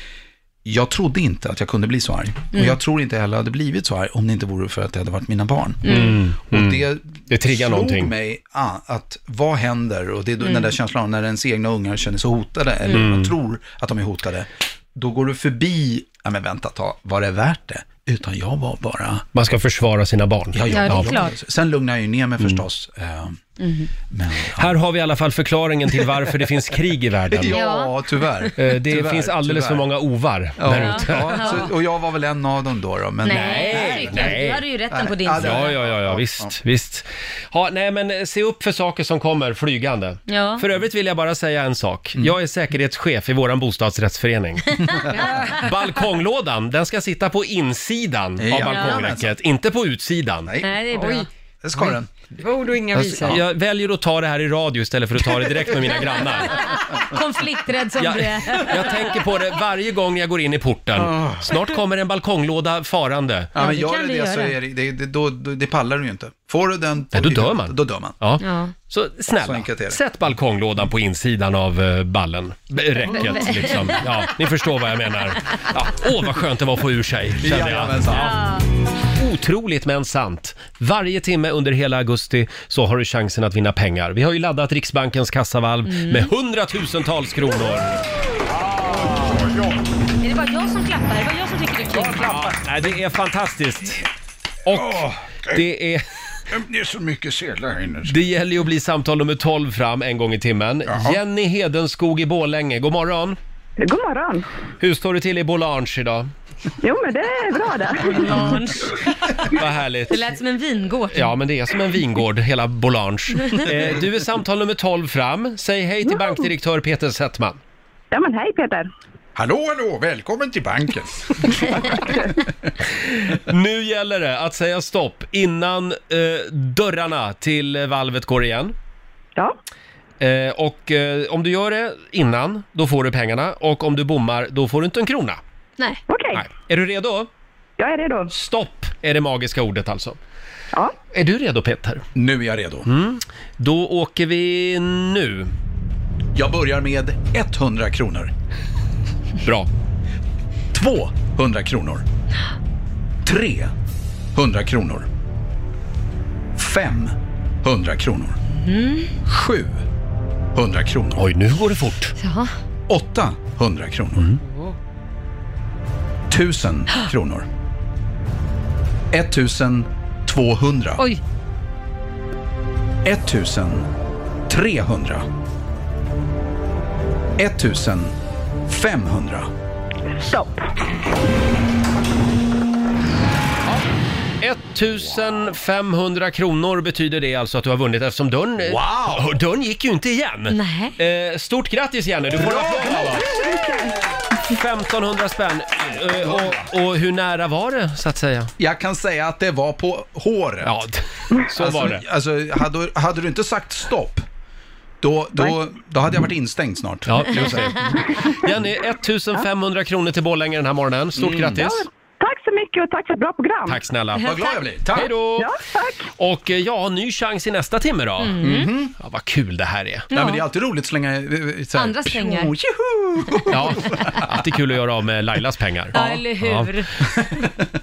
jag trodde inte att jag kunde bli så arg.
Mm.
Och jag tror inte heller hade blivit så arg om det inte vore för att det hade varit mina barn.
Mm.
Och det,
Det triggar
slog
någonting.
mig ah, att vad händer, och det är då
Mm.
den där känslan av när ens egna ungar känner sig hotade, eller
Mm.
man tror att de är hotade, då går du förbi, ja men vänta ett tag, var det värt det? Utan jag var bara...
Man ska försvara sina barn.
Ja,
Ja, det är klart.
Sen lugnar jag ju ner mig
Mm.
förstås. eh,
Här har vi i alla fall förklaringen till varför det finns krig i världen.
Ja, tyvärr.
Eh, Det
Tyvärr,
finns alldeles
tyvärr.
för många ovar
Ja,
där ute.
ja, så, och jag var väl en av dem då, då men
Nej, tycker jag. Du hade ju rätten på din
ja,
sida.
ja, ja, ja, visst, visst. Ja, nej, men eh, se upp för saker som kommer flygande.
Ja.
För övrigt vill jag bara säga en sak.
Mm.
Jag är säkerhetschef i våran bostadsrättsförening. Balkonglådan, den ska sitta på insidan
Ja.
av balkongräcket, inte på utsidan.
Nej, det är bra.
Oj.
Det ska den.
Ord och inga
Jag,
visor.
jag väljer att ta det här i radio istället för att ta det direkt med mina grannar.
Konflikträdd som
Jag,
du är.
jag tänker på det varje gång jag går in i porten.
Ah.
Snart kommer en balkonglåda farande.
Ja, men gör du det, så är det, det, det, då, då, det pallar du ju inte. Får du den...
Nej, då dör man.
Då dör man.
Ja.
Ja.
Så
Så
snälla,
enkelt är det.
sätt balkonglådan på insidan av eh, ballen. B- Räcket liksom. Ja, ni förstår vad jag menar. Ja. Åh, vad skönt det var att få ur sig, kände jag.
Jajamensan.
Ja. Otroligt men sant. Varje timme under hela augusti så har du chansen att vinna pengar. Vi har ju laddat Riksbankens kassavalv
Mm.
med hundratusentals kronor.
Är det bara jag som klappar? Det var jag som tycker det är kul.
Nej, det är fantastiskt. Och det är...
Det är så mycket sedlar här inne.
Det gäller ju att bli samtal nummer 12 fram en gång i timmen. Jenny Hedenskog i Borlänge, god morgon.
God morgon.
Hur står det till i Bolange idag?
Jo, men det är bra det.
Vad härligt.
Det lät som en vingård.
Ja, men det är som en vingård, hela Bolange. Eh, du är samtal nummer 12 fram. Säg hej till bankdirektör Peter Settman.
Ja, men hej Peter.
Hallå, hallå, välkommen till banken.
Nu gäller det att säga stopp innan eh, dörrarna till eh, valvet går igen.
Ja.
Eh, och eh, om du gör det innan, då får du pengarna. Och om du bommar, då får du inte en krona.
Nej.
Okej.
Nej. Är du redo?
Jag är redo.
Stopp är det magiska ordet alltså.
Ja.
Är du redo Peter?
Nu är jag redo.
Mm. Då åker vi nu.
Jag börjar med 100 kronor.
Bra.
200 kronor. 300 kronor. 500 kronor. 700 kronor.
Oj, nu går det fort. Mm.
Ja.
800 kronor. 1000 kronor. 1200.
Oj.
1300. 1500.
Stopp.
1500 kronor betyder det alltså att du har vunnit eftersom dörren...
Wow!
Dörren gick ju inte igen. Eh, stort grattis Jenny, du får en applåd av oss. 1500 spänn. Eh, och, och hur nära var det så att säga?
Jag kan säga att det var på håret.
Ja, så
alltså,
var det.
Alltså, hade, hade du inte sagt stopp, då, då, då hade jag varit instängd snart.
Ja,
kan jag
just
säga.
det. Jenny, 1500 kronor till Borlänge den här morgonen. Stort grattis!
Tack så mycket och tack för ett bra program.
Tack snälla!
Vad glad jag blir. Tack.
Hej då!
Ja, tack!
Och eh, ja, ny chans i nästa timme då.
Mm. Mhm.
Ja, vad kul det här är.
Nej, men det är alltid roligt att slänga... eh, eh, Så här,
Andras
pju,
pengar.
tjoho!
Ja, alltid kul att göra av med Lailas pengar.
Ja, eller hur?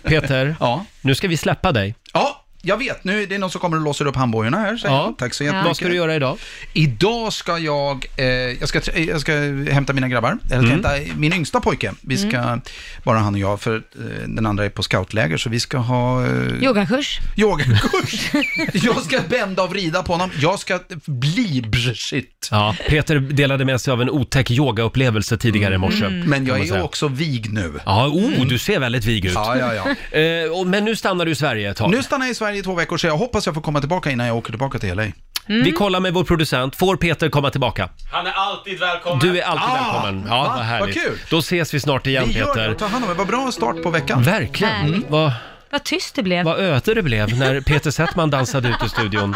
Peter,
ja.
nu ska vi släppa dig.
Ja. jag vet, nu är det någon som kommer och låser upp handbojorna här. säger
Ja.
jag. Tack så
Ja.
jättemycket.
Vad ska du göra idag?
Idag ska jag, eh, jag, ska, tr- jag ska hämta mina grabbar. Jag ska
Mm.
hämta min yngsta pojke. Vi ska, bara han och jag, för eh, den andra är på scoutläger, så vi ska ha... Eh,
Yogakurs.
Yogakurs. jag ska bända och vrida på honom. Jag ska bli brshit.
Ja, Peter delade med sig av en otäck yogaupplevelse tidigare i morse.
Mm. Men jag
kan man
är
säga.
också vig nu.
Ja, oh, du ser väldigt vig ut.
Ja, ja, ja.
Eh, och- men nu stannar du i Sverige ett tag.
Nu stannar jag i Sverige i två veckor, så jag hoppas jag får komma tillbaka innan jag åker tillbaka till LA.
Vi kollar med vår producent. Får Peter komma tillbaka?
Han är alltid välkommen.
Du är alltid
Ah,
välkommen. Ja,
va?
vad härligt.
Vad kul.
Då ses vi snart igen,
Vi gör
Peter.
det, ta hand om det. Vad bra start på veckan.
Verkligen.
Härligt.
Vad,
Vad tyst det blev.
vad öde det blev när Peter Settman dansade ut i studion.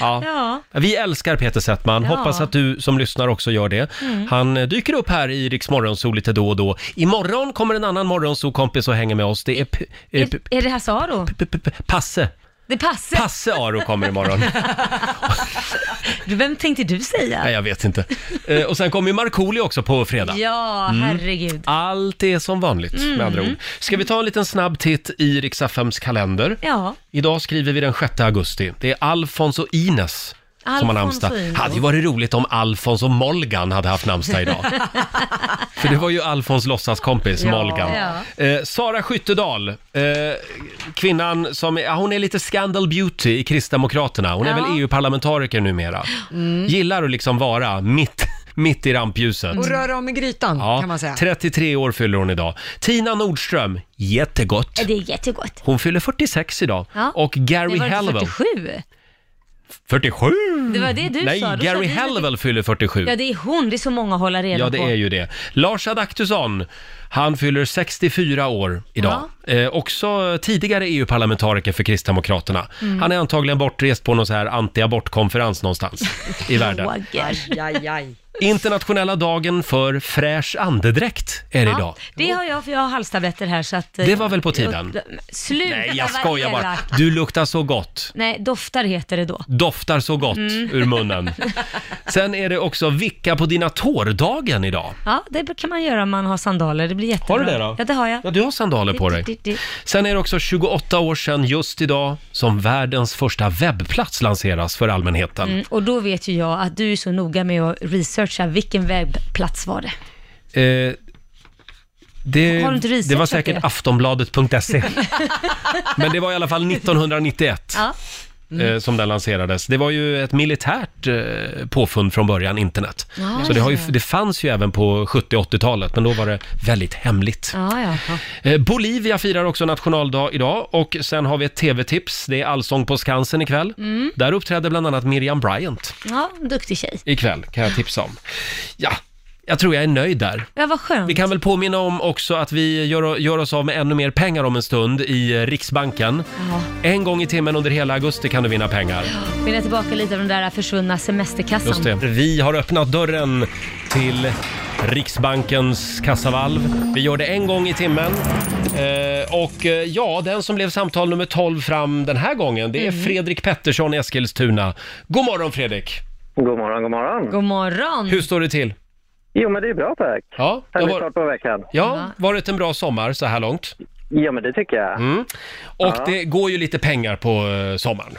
Ja.
Ja.
Vi älskar Peter Settman.
Ja.
Hoppas att du som lyssnar också gör det.
Mm.
Han eh, dyker upp här i Riks Morgonzoo lite då och då. Imorgon kommer en annan Morgonzoo-kompis och hänger med oss. Det är P- eh, P-
Är det Hasaro?
Passe.
Det passar.
Passe Aro kommer imorgon.
Du, Vem tänkte du säga?
Nej, jag vet inte. Eh, Och sen kommer ju Markoolio också på fredag.
Ja,
Mm.
herregud.
Allt är som vanligt
Mm.
med andra ord. Ska vi ta en liten snabb titt i Riksaffems kalender?
Ja.
Idag skriver vi den 6 augusti. Det är Alfons och Ines som har
Alfons och
namnsdag.
Ines.
Hade ju varit roligt om Alfons och Molgan hade haft namnsdag idag. För det var ju Alfons låtsaskompis,
Ja.
Molgan. Eh, Sara Skyttedal, eh, kvinnan som, ja, hon är lite scandal beauty i Kristdemokraterna. Hon är
Ja.
väl EU-parlamentariker numera.
Mm.
Gillar att liksom vara mitt, mitt i rampljuset.
Och röra om i grytan
Ja,
kan man säga.
33 år fyller hon idag. Tina Nordström, jättegott.
Det är jättegott.
Hon fyller 46 idag. Och Gary
det var inte
Hallowell.
47.
47?
Det var det du
Nej,
sa. Då sa
Gary
du-
Hallowell fyller 47.
Ja, det är hon. Det är så många att hålla reda
Ja, det
på.
är ju det. Lars Adaktusson, han fyller 64 år idag. Eh, också tidigare EU-parlamentariker för Kristdemokraterna.
Mm.
Han är antagligen bortrest på någon så här anti-abortkonferens någonstans i världen.
Aj, aj, aj.
Internationella dagen för fräsch andedräkt är det
Ja,
idag.
det har jag, för jag har halstabletter här så att... eh,
Det var väl på tiden?
och- Sluta
Nej, jag
vara
skojar bara.
elak.
Du luktar så gott.
Nej, doftar heter det då.
Doftar så gott
Mm.
ur munnen. Sen är det också vicka på dina tår-dagen idag.
Ja, det kan man göra om man har sandaler. Det blir jättebra.
Har du det då?
Ja, det har jag.
Ja, du har sandaler på dig.
Di, di, di.
Sen är det också 28 år sedan just idag som världens första webbplats lanseras för allmänheten.
Mm, och då vet ju jag att du är så noga med att researcha vilken webbplats var det.
Eh, det,
Har du inte
det var
researchat
säkert
det?
aftonbladet.se. Men det var i alla fall 1991
Ja. Mm.
eh, som den lanserades. Det var ju ett militärt eh, påfund från början, internet.
Ja,
Så det, har ju,
ja.
det fanns ju även på 70 och 80-talet, men då var det väldigt hemligt.
Ja, ja.
Eh, Bolivia firar också nationaldag idag och sen har vi ett tv-tips. Det är Allsång på Skansen ikväll.
Mm.
Där uppträder bland annat Miriam Bryant
Ja, duktig tjej.
ikväll, kan jag tipsa om. Ja, jag tror jag är nöjd där.
Ja, vad skönt.
Vi kan väl påminna om också att vi gör, gör oss av med ännu mer pengar om en stund i eh, Riksbanken. En gång i timmen under hela augusti kan du vinna pengar.
Vill jag tillbaka lite av den där försvunna semesterkassan?
Just det. Vi har öppnat dörren till Riksbankens kassavalv. Vi gör det en gång i timmen. Eh, och eh, ja, den som blev samtal nummer 12 fram den här gången, det är Fredrik Pettersson i Eskilstuna. God morgon Fredrik!
God morgon, god morgon.
God morgon.
Hur står det till?
Jo, men det är bra tack.
Ja, det
Härlig
var-
start på veckan.
Ja, varit en bra sommar så här långt?
Ja, men det tycker jag.
Mm. Och
Ja.
det går ju lite pengar på eh, sommaren.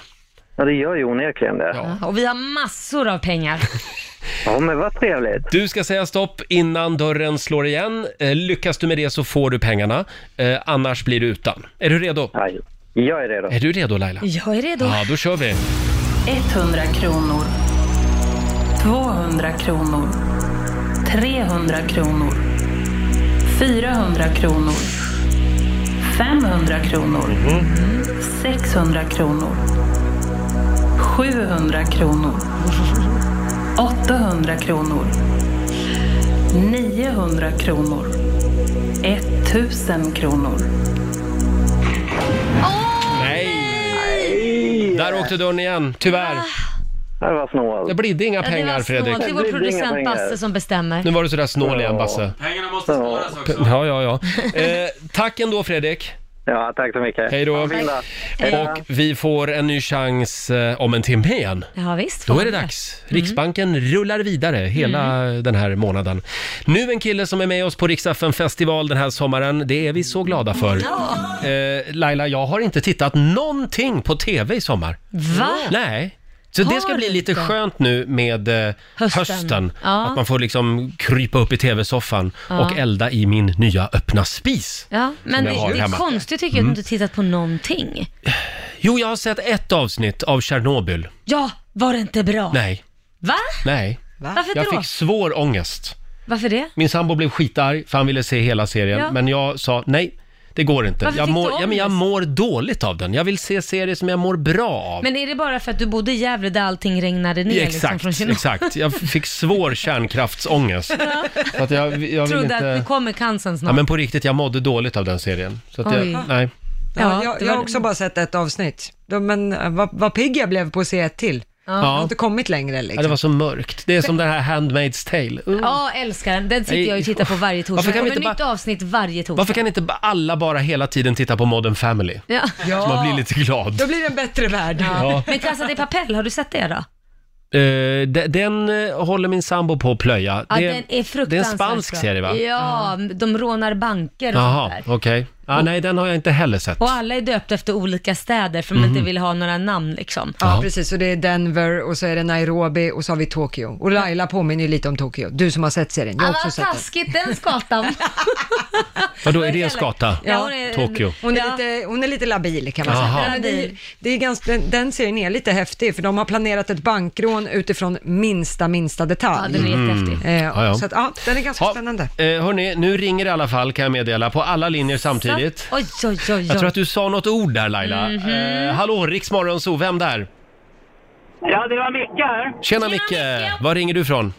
Ja, det gör ju onekligen det.
Ja.
Och vi har massor av pengar.
men vad trevligt.
Du ska säga stopp innan dörren slår igen. Eh, lyckas du med det så får du pengarna, eh, annars blir du utan. Är du redo?
Jag är redo.
Är du redo Laila?
Jag är redo.
Ja, då kör vi.
100 kronor. 200 kronor. 300 kronor. 400 kronor. 500 kronor. 600 kronor. 700 kronor. 800 kronor. 900 kronor. 1000 kronor.
Nej! Där åkte dörren igen, tyvärr.
Det var snål.
Det blidde inga
Ja, det
pengar
var snålt.
Fredrik.
Det är vår producent Basse som bestämmer.
Nu var du sådär snål igen Basse.
Pengarna måste sparas också.
Ja, ja, ja. Eh, tack ändå Fredrik.
Ja, tack så mycket.
Hej då.
Ha en fin dag. Hej då.
Och vi får en ny chans eh, om en timme igen.
Ja, visst.
Då är det dags. Riksbanken rullar vidare hela
Mm.
den här månaden. Nu en kille som är med oss på Riksdagen festival den här sommaren. Det är vi så glada för. Eh, Laila, jag har inte tittat någonting på TV i sommar.
Va?
Nej. Så det
Har
ska bli
du
lite
inte?
skönt nu med eh, hösten.
Hösten. Ja.
Att man får liksom krypa upp i TV-soffan
Ja.
och elda i min nya öppna spis.
Ja, men det,
jag har
det är
hemma.
konstigt tycker jag
Mm.
att du inte tittat på någonting.
Jo, jag har sett ett avsnitt av Tjernobyl.
Ja, var det inte bra?
Nej,
Va?
nej.
Varför
jag
då?
fick svår ångest.
Varför det?
Min sambo blev skitarg för han ville se hela serien,
Ja.
men jag sa nej. Det går inte.
Varför
Jag
fick
mår,
du
ja, men jag
ångest?
mår dåligt av den. Jag vill se serier som jag mår bra av.
Men är det bara för att du bodde i Gävle där allting regnade ner liksom
exakt,
från Tjernobyl?
exakt. Jag fick svår kärnkraftsångest. Så att jag, jag vill
Trodde
inte...
att nu kommer cancern snart.
Ja, men på riktigt, jag mådde dåligt av den serien. Så att
Oj.
jag, nej.
Ja,
Ja,
jag,
det
jag
var-
har också bara sett ett avsnitt. De- Men eh, vad, vad pigg jag blev på att se ett till. Jag har inte kommit längre liksom.
Ja, det var så mörkt. Det är som den här Handmaid's Tale. Uh.
Ja, älskar den. Den sitter jag och tittar på varje torsdag.
Varför kan vi
Och
inte
ett nytt avsnitt varje torsdag.
Varför kan inte ba- alla bara hela tiden titta på Modern Family?
Ja.
Så man blir lite glad.
blir det en bättre värld.
Ja.
Men Casa de Papel, har du sett det då?
Eh, de- den eh, håller min sambo på att plöja.
Ja,
Det-
den är fruktansvärt
Det är en spansk
bra.
serie va?
Ja, de rånar banker och sånt
Jaha,
där.
okej. Ah, nej, den har jag inte heller sett.
Och alla är döpta efter olika städer för de
Mhm.
inte vill ha några namn liksom.
Ja, precis. Och det är Denver och så är det Nairobi och så har vi Tokyo. Och Laila påminner ju lite om Tokyo. Du som har sett serien. Jag har
Alla
också
har
sett den.
taskigt den
Mm,
skatan.
Vadå, är det en skata?
Ja, hon
är-
Tokyo.
Hon är, lite, hon är lite labil kan man
Jaha.
säga. Men Det, är- det är ganska, den, den serien är lite häftig för de har planerat ett bankrån utifrån minsta, minsta detalj.
Ja, den är Mm. jättehäftig.
Eh,
Ja, ja.
Så att, ja, den är ganska spännande.
Eh, hörni, nu ringer det i alla fall kan jag meddela, på alla linjer samtidigt.
Oj, oj, oj, oj.
Jag tror att du sa något ord där Laila.
Mhm.
Eh, hallå, Riksmorgon så vem där?
Ja, det var Micke här.
Tjena Micke! Var ringer du ifrån?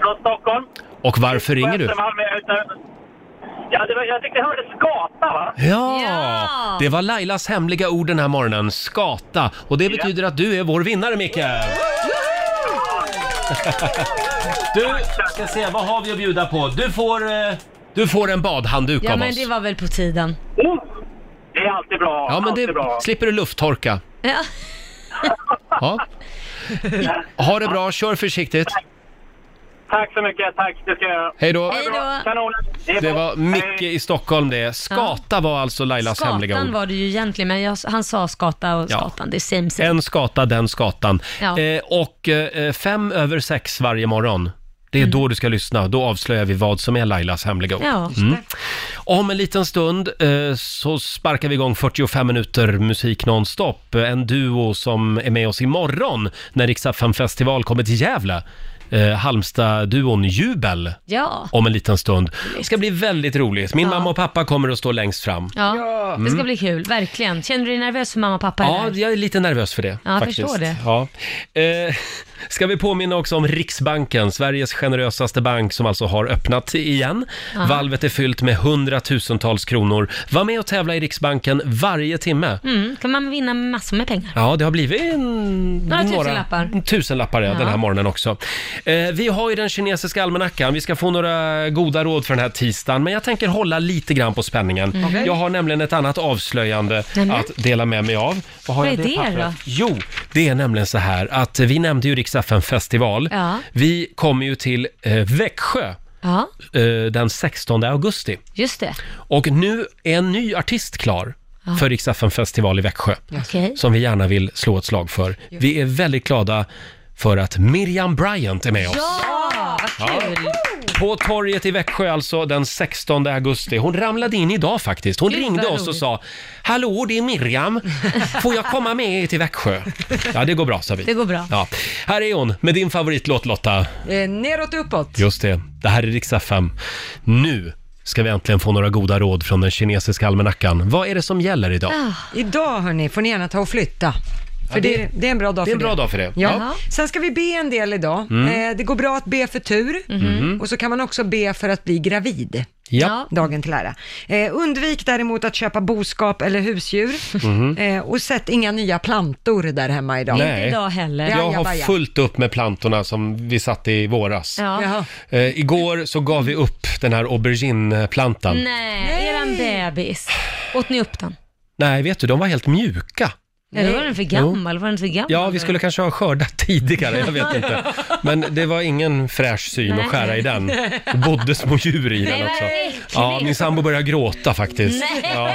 Från Stockholm.
Och varför ringer du?
Östermalm är ute. Ja, det var, jag tyckte jag hörde skata, va?
Ja! Det var Lailas hemliga ord den här morgonen, skata. Och det betyder att du är vår vinnare Micke! Du, ska se, vad har vi att bjuda på? Du får, eh, du får en badhandduk
Ja,
av
men
oss.
det var väl på tiden.
Det är alltid bra.
Ja, men
alltid bra.
det slipper du lufttorka.
Ja.
Ja. Ha det bra, kör försiktigt.
Tack så mycket, tack. Det ska jag göra.
Hej då.
Ha det bra. Kanon.
Det var Micke i Stockholm det. Skata var alltså Lailas hemliga
Skatan
ord.
var det ju egentligen, men jag, han sa skata och skatan. Det är same same.
En skata, den skatan.
Ja.
Eh, och eh, fem över sex varje morgon. Det är då du ska lyssna. Då avslöjar vi vad som är Lailas hemliga ord.
Mm. Ja.
Mm. Om en liten stund eh, så sparkar vi igång 45 minuter musik nonstop. En duo som är med oss imorgon när Riksdagen festival kommer till Gävle. Eh, Halmstad-duon Jubel
Ja.
om en liten stund. Det ska bli väldigt roligt. Min mamma och pappa kommer att stå längst fram.
Ja, det ska
Mm.
bli kul, verkligen. Känner du dig nervös för mamma och pappa?
Ja,
eller?
jag är lite nervös för det.
Ja, jag
faktiskt.
förstår det.
Ja. Eh, ska vi påminna också om Riksbanken, Sveriges generösaste bank som alltså har öppnat igen.
Ja.
Valvet är fyllt med hundratusentals kronor. Var med och tävla i Riksbanken varje timme.
Mm, kan man vinna massor med pengar.
Ja, det har blivit en,
Några tusenlappar.
tusenlappar ja,
Ja.
den här morgonen också. Eh, vi har ju den kinesiska almanackan. Vi ska få några goda råd för den här tisdagen, men jag tänker hålla lite grann på spänningen.
Mm. Okej.
Jag har nämligen ett annat avslöjande
Nämen.
att dela med mig av. Vad har
Vad
jag
är det
pappret?
då?
Jo, det är nämligen så här att vi nämnde ju riks festival
Ja.
Vi kommer ju till eh, Växjö
Ja,
eh, den 16 augusti.
just det.
Och nu är en ny artist klar
Ja.
för riks festival i Växjö
Okej.
som vi gärna vill slå ett slag för. Vi är väldigt glada för att Miriam Bryant är med oss.
Ja, vad kul.
På torget i Växjö alltså den 16 augusti. Hon ramlade in idag faktiskt. Hon
Gud,
ringde
vad
oss och
roligt.
sa “Hallå, det är Miriam. Får jag komma med er till Växjö?” Ja, det går bra sa vi.
Det går bra.
Ja. Här är hon med din favoritlåt Lotta.
Eh, neråt uppåt.
Just det, det här är Rix FM. Nu ska vi äntligen få några goda råd
Ah,
från den kinesiska almanackan. Vad är det som gäller idag?
Idag hörni, får ni gärna ta och flytta. För
Ja, det-
det, det är en bra dag
det är
för
en bra
det.
dag för det.
Ja.
Ja.
Sen ska vi be en del idag.
Mm.
Eh, det går bra att be för tur
Mhm.
och så kan man också be för att bli gravid.
Ja.
Dagen till ära. Eh, undvik däremot att köpa boskap eller husdjur
Mhm.
eh, och sätt inga nya plantor där hemma idag.
Jag har
Jajabaja.
fullt upp med plantorna som vi satte i våras.
Ja. Jaha.
Eh, igår så gav vi upp den här aubergineplantan. Nej.
Nej, eran bebis. Åt ni upp den?
vet du, de var helt mjuka.
Eller var den för gammal? Var den för gammal?
Ja, vi skulle kanske ha skördat tidigare, jag vet inte. Men det var ingen fräsch syn att skära i den. Det bodde små djur i
Nej,
den
vad
också.
äckligt.
Ja, min sambo började gråta faktiskt.
Nej.
Ja.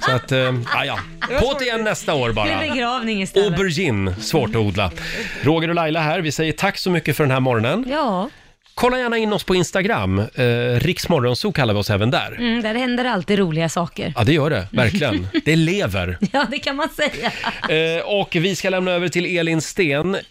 Så att, eh, ja, ja. På det igen nästa år
Det
bara.
är begravning istället.
Aubergine, svårt att odla. Roger och Laila här, vi säger tack så mycket för den här morgonen.
Ja,
Kolla gärna in oss på Instagram, eh, Riksmorgonzoo kallar vi oss även där.
mm, där händer alltid roliga saker.
Ja, det gör det, verkligen. Det lever.
Ja, det kan man säga.
Eh, och vi ska lämna över till Elin Sten